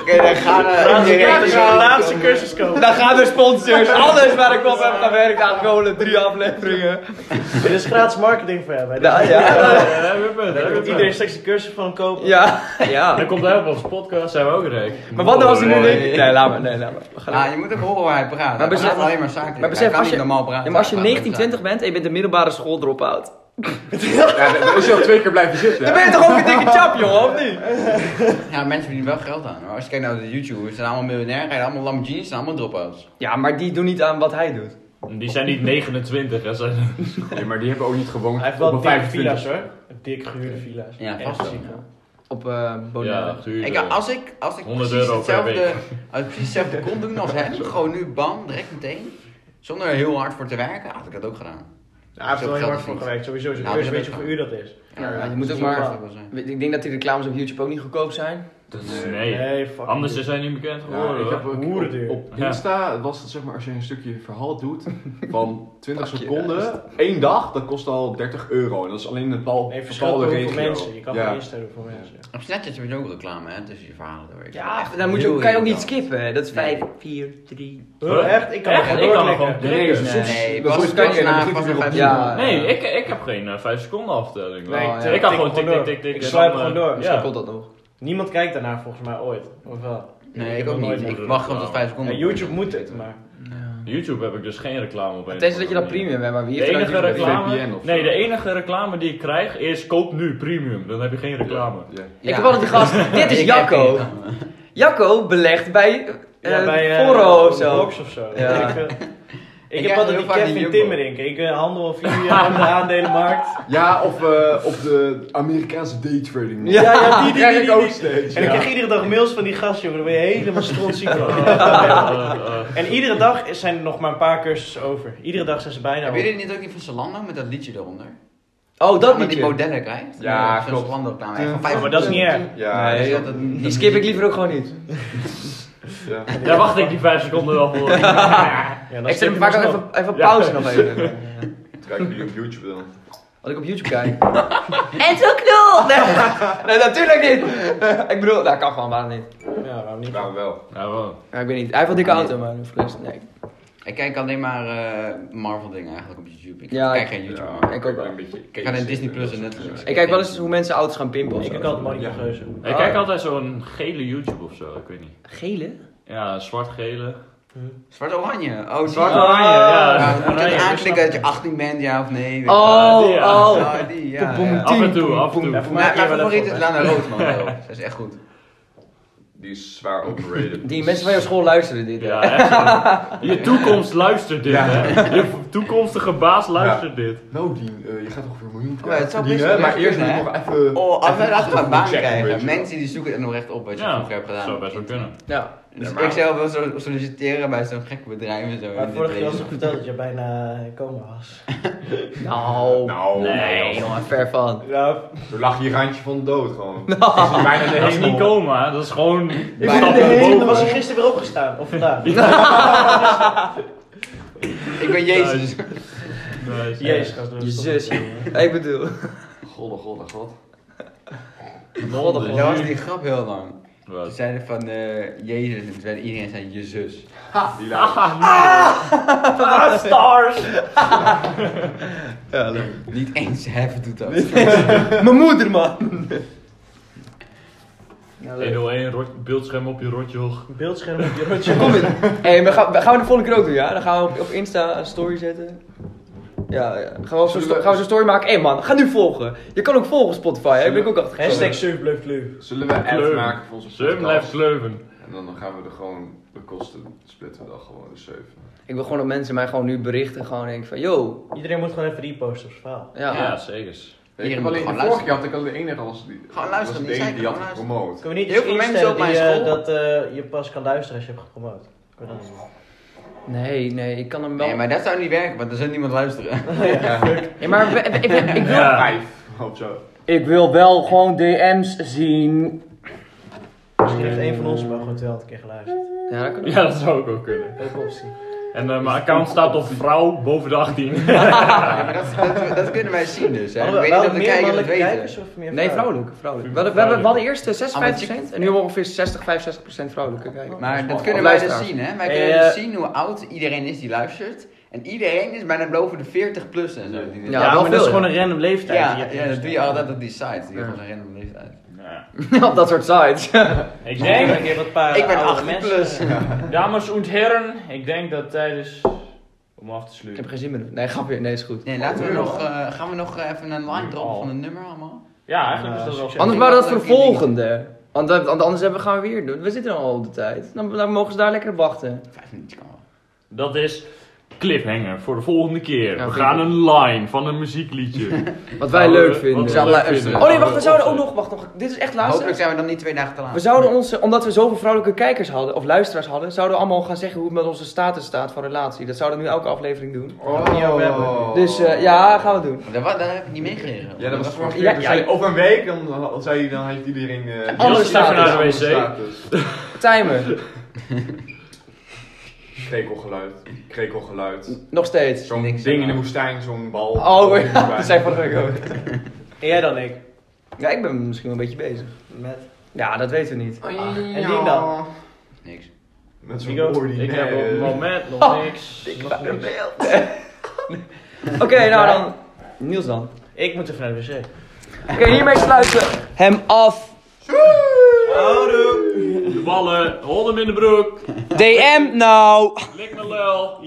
Speaker 6: Oké, dan gaan
Speaker 3: eh,
Speaker 6: we
Speaker 2: Dat is mijn
Speaker 6: direct.
Speaker 2: laatste cursus komen.
Speaker 3: Dan gaan de sponsors. Alles waar ik op heb gewerkt aan gewoon drie afleveringen.
Speaker 2: Dit is gratis marketing voor hem. hè.
Speaker 3: Nou, Ja, ja.
Speaker 2: Dan moet iedereen straks een cursus van hem kopen.
Speaker 3: Ja, ja.
Speaker 4: Dan komt hij op onze podcast, zijn we ook rijk.
Speaker 3: Maar wat nou als hij nu
Speaker 6: Mooi.
Speaker 3: denkt... Nee, laat maar. Nee, laat maar. We gaan
Speaker 6: Ja, Ah, je moet ook horen waar hij praat. Maar
Speaker 3: besef-
Speaker 6: besef, alleen maar zakelijk.
Speaker 3: maar
Speaker 6: Maar
Speaker 3: besef,
Speaker 6: besef,
Speaker 3: als
Speaker 6: kan niet
Speaker 3: je-
Speaker 6: normaal praten.
Speaker 3: Ja, maar als je
Speaker 6: Hij praat
Speaker 3: 19,
Speaker 6: alleen maar
Speaker 3: 20 bent en je bent een middelbare school drop-out.
Speaker 7: Ja, dan is hij al twee keer blijven zitten.
Speaker 3: Dan ben je toch ook een dikke chap, jongen, of niet?
Speaker 6: zakelijk. Ja, mensen verdienen wel geld aan. hoor. Als je kijkt naar de YouTubers, zijn allemaal miljonair, rijden allemaal Lamborghinis, zijn allemaal drop-outs.
Speaker 3: Ja, maar die doen niet aan wat hij doet.
Speaker 4: Die zijn niet 29, hè. Zijn...
Speaker 7: Nee, maar die hebben ook niet gewoond
Speaker 2: Hij heeft
Speaker 7: op
Speaker 2: wel
Speaker 7: een
Speaker 2: dikke
Speaker 7: 25.
Speaker 2: villa's hoor. Dik gehuurde villa's.
Speaker 6: Ja,
Speaker 2: Echt
Speaker 6: vast wel,
Speaker 2: ziek,
Speaker 6: ja.
Speaker 2: hoor.
Speaker 3: Op eh Bonaire.
Speaker 4: Ja, tuurlijk.
Speaker 6: Ik, als ik, als ik
Speaker 4: 100
Speaker 6: precies
Speaker 4: euro per
Speaker 6: hetzelfde,
Speaker 4: week.
Speaker 6: als ik precies hetzelfde kon doen als hem, gewoon nu bam, direct meteen, zonder er heel hard voor te werken, had ik dat ook gedaan.
Speaker 2: Ja, hij heeft er wel heel hard voor
Speaker 6: Geld
Speaker 2: gewerkt. Sowieso, zo'n
Speaker 6: Nou,
Speaker 2: cursus
Speaker 6: dat
Speaker 2: weet je
Speaker 6: is
Speaker 2: hoeveel uur dat is.
Speaker 3: Ja, maar je
Speaker 6: dat
Speaker 3: moet
Speaker 6: is
Speaker 3: ook
Speaker 6: wel
Speaker 3: maar-
Speaker 6: hard voor zijn.
Speaker 3: Ik denk dat die reclames op YouTube ook niet goedkoop zijn.
Speaker 7: Dat is-
Speaker 4: Nee.
Speaker 2: Nee, fuck.
Speaker 4: Anders is hij niet bekend
Speaker 7: Ja,
Speaker 4: geworden,
Speaker 7: ik heb
Speaker 4: hoor.
Speaker 7: ook
Speaker 2: Hoeren duur.
Speaker 7: op, op Insta was het zeg maar als je een stukje verhaal
Speaker 2: [LAUGHS]
Speaker 7: doet van 20
Speaker 3: Pak je
Speaker 7: seconden, één dag, dat kost al 30 euro. En dat is alleen in een bepaal-
Speaker 2: Nee,
Speaker 7: bepaalde
Speaker 2: verschillende hoeveel
Speaker 7: regio.
Speaker 2: mensen. Je kan
Speaker 7: ja.
Speaker 2: geen instellen hoeveel mensen.
Speaker 6: Op Snapchat heb je ook reclame, hè, tussen je verhalen door. Ik vind
Speaker 3: Ja,
Speaker 6: het echt
Speaker 3: dan moet je,
Speaker 6: heel
Speaker 3: kan je ook niet
Speaker 6: irritant.
Speaker 3: skippen. Dat is
Speaker 6: Nee.
Speaker 3: 5, 4, 3.
Speaker 4: Huh?
Speaker 2: Echt? Ik kan
Speaker 4: Echt?
Speaker 2: er
Speaker 4: Ik kan er
Speaker 2: gewoon
Speaker 4: gewoon
Speaker 7: Nee,
Speaker 4: klikken.
Speaker 7: soms-
Speaker 6: Nee,
Speaker 7: dat
Speaker 6: pas-
Speaker 7: moet je kijken
Speaker 6: pas
Speaker 7: en dan
Speaker 6: na-
Speaker 7: begint
Speaker 6: pas
Speaker 7: hij weer
Speaker 6: na
Speaker 7: opnieuw.
Speaker 6: vijf
Speaker 3: Ja.
Speaker 4: Nee, ik, ik heb geen eh, 5 seconden aftelling.
Speaker 2: Nee,
Speaker 3: Oh,
Speaker 2: ik,
Speaker 3: ja.
Speaker 2: tik
Speaker 4: Ik kan gewoon
Speaker 2: tik
Speaker 4: tik, tik, tik, tik.
Speaker 2: Ik
Speaker 4: en
Speaker 2: swipe
Speaker 4: dan,
Speaker 2: gewoon
Speaker 4: eh,
Speaker 2: door.
Speaker 3: Misschien
Speaker 4: Ja.
Speaker 3: komt dat nog.
Speaker 2: Niemand kijkt daarnaar volgens mij ooit. Of wel?
Speaker 6: Nee,
Speaker 2: heb
Speaker 6: ik ook
Speaker 2: nog nooit
Speaker 6: niet. Ik
Speaker 2: moeten
Speaker 6: wacht op
Speaker 4: reclame.
Speaker 6: dat 5 seconden.
Speaker 2: Ja, YouTube moet het, maar.
Speaker 4: YouTube heb ik dus geen reclame op. een
Speaker 3: Tenzij dat
Speaker 4: of
Speaker 3: je dat
Speaker 4: andere manier.
Speaker 3: premium hebt, maar wie
Speaker 4: De
Speaker 3: heeft er nou
Speaker 4: enige
Speaker 3: YouTube?
Speaker 7: VPN
Speaker 4: reclame,
Speaker 7: of
Speaker 4: nee,
Speaker 7: zo.
Speaker 4: de enige reclame die ik krijg is koop nu premium. Dan heb je geen reclame.
Speaker 7: Ja.
Speaker 3: Ik heb altijd die gast. Dit is Jacco. Jacco belegt bij eh
Speaker 2: Ja, bij eh,
Speaker 3: Foro of zo.
Speaker 2: Box of zo.
Speaker 3: Ja.
Speaker 2: Ik, eh, ik
Speaker 6: krijg
Speaker 2: heb altijd
Speaker 6: heel
Speaker 2: die
Speaker 6: vaak die
Speaker 2: Kevin
Speaker 6: Jumbo.
Speaker 2: Timmerink. Ik eh, handel al vier jaar op de aandelenmarkt.
Speaker 7: Ja, of eh, op de Amerikaanse daytrading.
Speaker 3: Ja,
Speaker 2: Ja, ja, die, die,
Speaker 7: krijg
Speaker 2: die,
Speaker 7: ik
Speaker 2: die,
Speaker 7: ook
Speaker 2: die.
Speaker 7: steeds.
Speaker 2: En ik
Speaker 7: ja.
Speaker 2: krijg iedere dag mails van die gast, jongen. Dan ben je helemaal strontziek van.
Speaker 4: Eh, eh, eh.
Speaker 2: En iedere dag is- zijn er nog maar een paar cursussen over. Iedere dag zijn ze bijna
Speaker 6: Hebben
Speaker 2: op.
Speaker 6: jullie dit ook niet van Zalando met dat liedje eronder?
Speaker 3: Oh, dat
Speaker 6: met die
Speaker 3: liedje.
Speaker 6: modellen krijgt?
Speaker 7: Ja,
Speaker 6: Zo'n
Speaker 7: klopt.
Speaker 6: Zalando reclame. echt van
Speaker 2: Ja,
Speaker 6: 5
Speaker 2: maar dat is niet erg.
Speaker 7: Ja,
Speaker 3: Nee,
Speaker 6: dat is altijd-
Speaker 3: die skip ik liever ook gewoon niet.
Speaker 7: ja.
Speaker 4: eh, Daar wacht ik die 5 seconden wel voor.
Speaker 2: Ja, dan
Speaker 3: Ik zet
Speaker 2: skip
Speaker 3: hem
Speaker 2: je
Speaker 3: vaak ook
Speaker 2: alsnog.
Speaker 3: even, even
Speaker 4: Ja.
Speaker 3: pauze nog even.
Speaker 7: Kijk jullie op YouTube dan.
Speaker 3: Als ik op YouTube kijk. En zo knul! Nee, nee, natuurlijk niet. [LAUGHS] Ik bedoel, dat kan gewoon, waarom niet?
Speaker 2: Ja, waarom niet?
Speaker 7: Waarom wel?
Speaker 4: Ja, wel.
Speaker 3: Ja, ik weet niet. Hij heeft wel dikke auto, maar voor de rest, nee.
Speaker 6: Ik kijk alleen maar eh, Marvel dingen eigenlijk op YouTube. Ik
Speaker 3: Ja,
Speaker 6: kijk
Speaker 3: ik-
Speaker 6: geen YouTube
Speaker 7: Ja,
Speaker 6: meer.
Speaker 3: ik ook wel.
Speaker 7: een beetje
Speaker 6: Ik ga naar
Speaker 7: case
Speaker 6: Disney
Speaker 7: in,
Speaker 6: Plus
Speaker 7: dat
Speaker 6: en
Speaker 7: soort
Speaker 6: Netflix.
Speaker 7: dingen.
Speaker 3: Ik kijk wel eens hoe mensen auto's gaan pimpen of
Speaker 2: Ik kijk
Speaker 3: zo.
Speaker 2: altijd Monica
Speaker 7: Ja.
Speaker 2: Geuze.
Speaker 4: Ik kijk altijd zo'n gele YouTube of zo, ik weet niet.
Speaker 3: Gele?
Speaker 4: Ja, zwart-gele.
Speaker 6: Zwart-oranje. Oh,
Speaker 3: Oh,
Speaker 6: zwart-oranje.
Speaker 4: ja.
Speaker 6: Ja, dan moet je
Speaker 4: oranje,
Speaker 6: het aanklikken
Speaker 2: snap
Speaker 6: dat je 18 bent, ja of nee. weet je wel.
Speaker 3: Oh,
Speaker 4: die, ja.
Speaker 3: oh.
Speaker 6: Ja, die, ja.
Speaker 3: Boem,
Speaker 6: ja.
Speaker 4: Af en
Speaker 3: Tien,
Speaker 4: toe, af en
Speaker 3: poem,
Speaker 2: Ja,
Speaker 4: toe.
Speaker 2: voor mij
Speaker 6: Mijn, mijn
Speaker 2: keer wel
Speaker 6: favoriet is
Speaker 2: even op,
Speaker 6: Lana Roodman wel. Dat is echt goed.
Speaker 7: Die is zwaar overrated. Dus-
Speaker 3: Die mensen van jouw school luisteren dit.
Speaker 4: Ja, echt
Speaker 6: [LAUGHS]
Speaker 4: zo. Je toekomst luistert dit, hè. Je toekomstige baas luistert dit.
Speaker 7: Nou Dien, eh, je gaat toch weer een miljoen
Speaker 6: maar het zou best
Speaker 7: verdienen,
Speaker 6: wel
Speaker 7: maar eerst moet je
Speaker 6: kunnen,
Speaker 7: nog even...
Speaker 6: Oh, als wij dat gaan baan
Speaker 7: checken, weet
Speaker 6: krijgen.
Speaker 7: je
Speaker 6: Mensen die zoeken het nog recht op wat je
Speaker 4: Ja,
Speaker 6: vroeger hebt gedaan.
Speaker 4: zou best wel kunnen.
Speaker 3: Ja.
Speaker 6: Dus
Speaker 7: Ja, maar-
Speaker 6: ik zou wel zo- solliciteren bij zo'n gek bedrijf en zo.
Speaker 2: Maar
Speaker 6: in
Speaker 2: vorige
Speaker 6: dit
Speaker 2: keer was
Speaker 6: leven.
Speaker 2: nog verteld dat je bijna in coma was.
Speaker 3: Nou.
Speaker 7: Nou,
Speaker 3: Nee, jongen, ver van.
Speaker 2: Ja,
Speaker 7: Er lag hier randje van de dood gewoon. Dat is bijna de
Speaker 4: Dat is niet
Speaker 7: hemel.
Speaker 4: coma, dat is gewoon
Speaker 2: ik ben
Speaker 4: stappen
Speaker 2: in de hemel.
Speaker 4: boven.
Speaker 2: Dan was ik gisteren weer opgestaan. Of vandaag.
Speaker 6: Ik ben Jezus.
Speaker 4: Nice.
Speaker 2: Jezus, gast. dat
Speaker 3: Je
Speaker 2: is toch-
Speaker 3: zus, Ik bedoel.
Speaker 1: Godde, godde, god.
Speaker 6: [LAUGHS] Dat was die grap heel lang. Ze
Speaker 4: [LAUGHS] Wat?
Speaker 6: zeiden van eh, Jezus en toen zei iedereen zei Jezus.
Speaker 1: Die
Speaker 4: Ah,
Speaker 1: laag.
Speaker 2: Ah.
Speaker 4: Stars!
Speaker 6: Niet eens Heaven doet dat.
Speaker 3: Mijn moeder, man!
Speaker 4: 101, rot, beeldscherm op je rotje hoog.
Speaker 2: Beeldscherm op [LAUGHS] je rotje.
Speaker 3: Kom in. Hey, maar gaan, gaan we de volgende keer ook doen, ja? Dan gaan we op, op Insta een story zetten. Ja, ja. Gaan we zo'n sto- gaan we zo'n story maken? Hé man, ga nu volgen. Je kan ook volgen op Spotify, hè? Ben ik ook achter.
Speaker 2: Hashtag surfbleufkleur.
Speaker 1: Zullen we ads
Speaker 4: Kleur.
Speaker 1: maken voor onze
Speaker 4: Ze blijft
Speaker 1: podcast?
Speaker 4: sleuven.
Speaker 1: En dan gaan we er gewoon de kosten splitten we dan gewoon de 7.
Speaker 3: Ik wil gewoon dat mensen mij gewoon nu berichten. Gewoon denken van, yo.
Speaker 2: Iedereen moet gewoon even reposten op zijn verhaal.
Speaker 3: Ja.
Speaker 4: Ja, zeker.
Speaker 1: Ik
Speaker 6: Iedereen
Speaker 1: heb
Speaker 6: moet
Speaker 1: alleen
Speaker 6: gewoon
Speaker 1: de vorige keer
Speaker 6: luisteren.
Speaker 1: had ik al de enige als die,
Speaker 6: Gewoon luisteren,
Speaker 1: was
Speaker 6: die
Speaker 1: de
Speaker 6: zei
Speaker 1: enige die had
Speaker 6: gewoon
Speaker 1: gepromoot.
Speaker 2: Kunnen we niet
Speaker 6: Heel
Speaker 2: eens
Speaker 6: veel mensen
Speaker 2: instellen
Speaker 6: op mijn
Speaker 2: die, eh,
Speaker 6: school.
Speaker 2: dat eh, je pas kan luisteren als je hebt gepromoot? Kun je dat doen?
Speaker 3: Nee, nee, ik kan hem wel.
Speaker 6: Nee, maar dat zou niet werken, want er zou niemand luisteren.
Speaker 3: Ja, maar we- ik, ik- ik wil...
Speaker 4: Ja.
Speaker 1: Vijf of zo.
Speaker 3: ik wil wel gewoon DM's zien.
Speaker 2: Misschien heeft een van ons maar gewoon 200 keer geluisterd.
Speaker 3: Ja, dat kan
Speaker 4: Ja, dat zou ik ook kunnen.
Speaker 2: Ook optie.
Speaker 4: En eh, mijn account staat op vrouw boven de
Speaker 6: [LAUGHS]
Speaker 4: 18.
Speaker 6: Ja, maar dat, dat, dat kunnen wij zien dus. Hè. Ik
Speaker 2: Hadden we
Speaker 6: weet
Speaker 2: wel
Speaker 6: niet of de
Speaker 2: meer
Speaker 6: kijkers het
Speaker 2: mannelijke
Speaker 6: weten.
Speaker 2: kijkers of meer
Speaker 3: Nee, vrouwelijk. vrouwelijk. We, hadden- we, hebben- we hadden eerst eh, 56% en nu ongeveer 60, 65% vrouwelijke kijkers.
Speaker 6: Maar dat
Speaker 3: Of
Speaker 6: kunnen wij dus
Speaker 3: luisteraars.
Speaker 6: zien, hè? Wij
Speaker 2: Eh,
Speaker 6: kunnen dus zien hoe oud iedereen is die luistert. En iedereen is bijna boven de 40 plus en zo. Die-
Speaker 3: Ja,
Speaker 2: Ja,
Speaker 3: wel
Speaker 2: maar dat is
Speaker 3: veel,
Speaker 2: gewoon een random leeftijd.
Speaker 6: ja,
Speaker 2: die je hebt
Speaker 6: ja, dat doe je
Speaker 2: ingesteld.
Speaker 6: altijd op die site. Die
Speaker 3: Ja.
Speaker 6: gewoon zo'n random leeftijd.
Speaker 3: [LAUGHS] Op dat soort sites.
Speaker 4: Ik
Speaker 2: Nee, maar
Speaker 4: denk,
Speaker 2: ik heb een paar
Speaker 6: Ik ben
Speaker 2: oude
Speaker 6: 18
Speaker 2: mensen.
Speaker 6: plus.
Speaker 4: dames en heren, ik denk dat tijdens. om af te
Speaker 3: Ik
Speaker 4: sluiten.
Speaker 3: heb geen zin meer. Nee, grapje. Nee, is goed.
Speaker 6: Nee, laten we nog, eh, gaan we nog even een line droppen van een nummer allemaal?
Speaker 4: Ja, eigenlijk is dat
Speaker 6: Ah,
Speaker 4: wel
Speaker 3: Anders waren dat voor de volgende. Want we- want anders hebben we gaan we weer doen. We zitten al op de tijd. Dan, dan mogen ze daar lekker op wachten.
Speaker 6: Vijf minuutjes kan wel.
Speaker 4: Dat is cliffhanger voor de volgende keer.
Speaker 3: Ja,
Speaker 4: we
Speaker 3: vind
Speaker 4: gaan
Speaker 3: ik.
Speaker 4: een line van een
Speaker 3: [LAUGHS]
Speaker 4: muziekliedje.
Speaker 3: Wat wij
Speaker 4: Nou,
Speaker 3: leuk
Speaker 4: eh,
Speaker 3: vinden.
Speaker 4: wat we
Speaker 6: Zal
Speaker 4: leuk
Speaker 6: luisteren.
Speaker 4: vinden.
Speaker 3: Oh nee, wacht. We
Speaker 4: Gaan
Speaker 3: zouden ook
Speaker 4: opzetten.
Speaker 3: nog... Wacht, nog dit is echt
Speaker 6: Hopelijk
Speaker 3: laatste.
Speaker 6: zijn we dan niet twee dagen te laat.
Speaker 3: We zouden onze, omdat we zoveel vrouwelijke kijkers hadden, of luisteraars hadden, zouden we allemaal gaan zeggen hoe het met onze status staat van relatie. Dat zouden we nu elke aflevering doen.
Speaker 4: Oh.
Speaker 3: Dus eh, ja, gaan we doen.
Speaker 6: Daar, wa- daar heb ik niet meegekregen.
Speaker 1: Ja, dat was vorige keer.
Speaker 3: Ja,
Speaker 1: toen
Speaker 3: ja.
Speaker 1: zei je, over een week, dan, dan, zei je, dan heeft iedereen... eh, die
Speaker 3: Anders
Speaker 1: status,
Speaker 3: even naar de
Speaker 1: anders
Speaker 4: nou wc.
Speaker 1: status.
Speaker 3: Timer. [LAUGHS]
Speaker 1: Krekelgeluid, krekelgeluid.
Speaker 3: Nog steeds.
Speaker 1: Zo'n
Speaker 6: Niks
Speaker 1: ding in
Speaker 6: aan.
Speaker 1: de woestijn, zo'n bal.
Speaker 6: [LAUGHS]
Speaker 3: Oh, [LAUGHS] ja, dat zijn vorige week ook.
Speaker 2: En jij dan, ik?
Speaker 3: Ja, ik ben misschien wel een beetje bezig.
Speaker 2: Met. Oh,
Speaker 3: Ja, dat weten we niet.
Speaker 2: En die dan?
Speaker 6: Niks.
Speaker 1: Met zo'n
Speaker 2: Nico,
Speaker 4: Ik heb op het
Speaker 1: ordinaire...
Speaker 4: moment
Speaker 6: Oh,
Speaker 4: nog niks. nog niks.
Speaker 3: Oké, nou dan. Niels dan.
Speaker 2: Ik moet even naar de wc.
Speaker 3: Oké, hiermee sluiten we hem af.
Speaker 4: De ballen, hold hem in de broek,
Speaker 3: DM nou.
Speaker 4: lik mijn lul.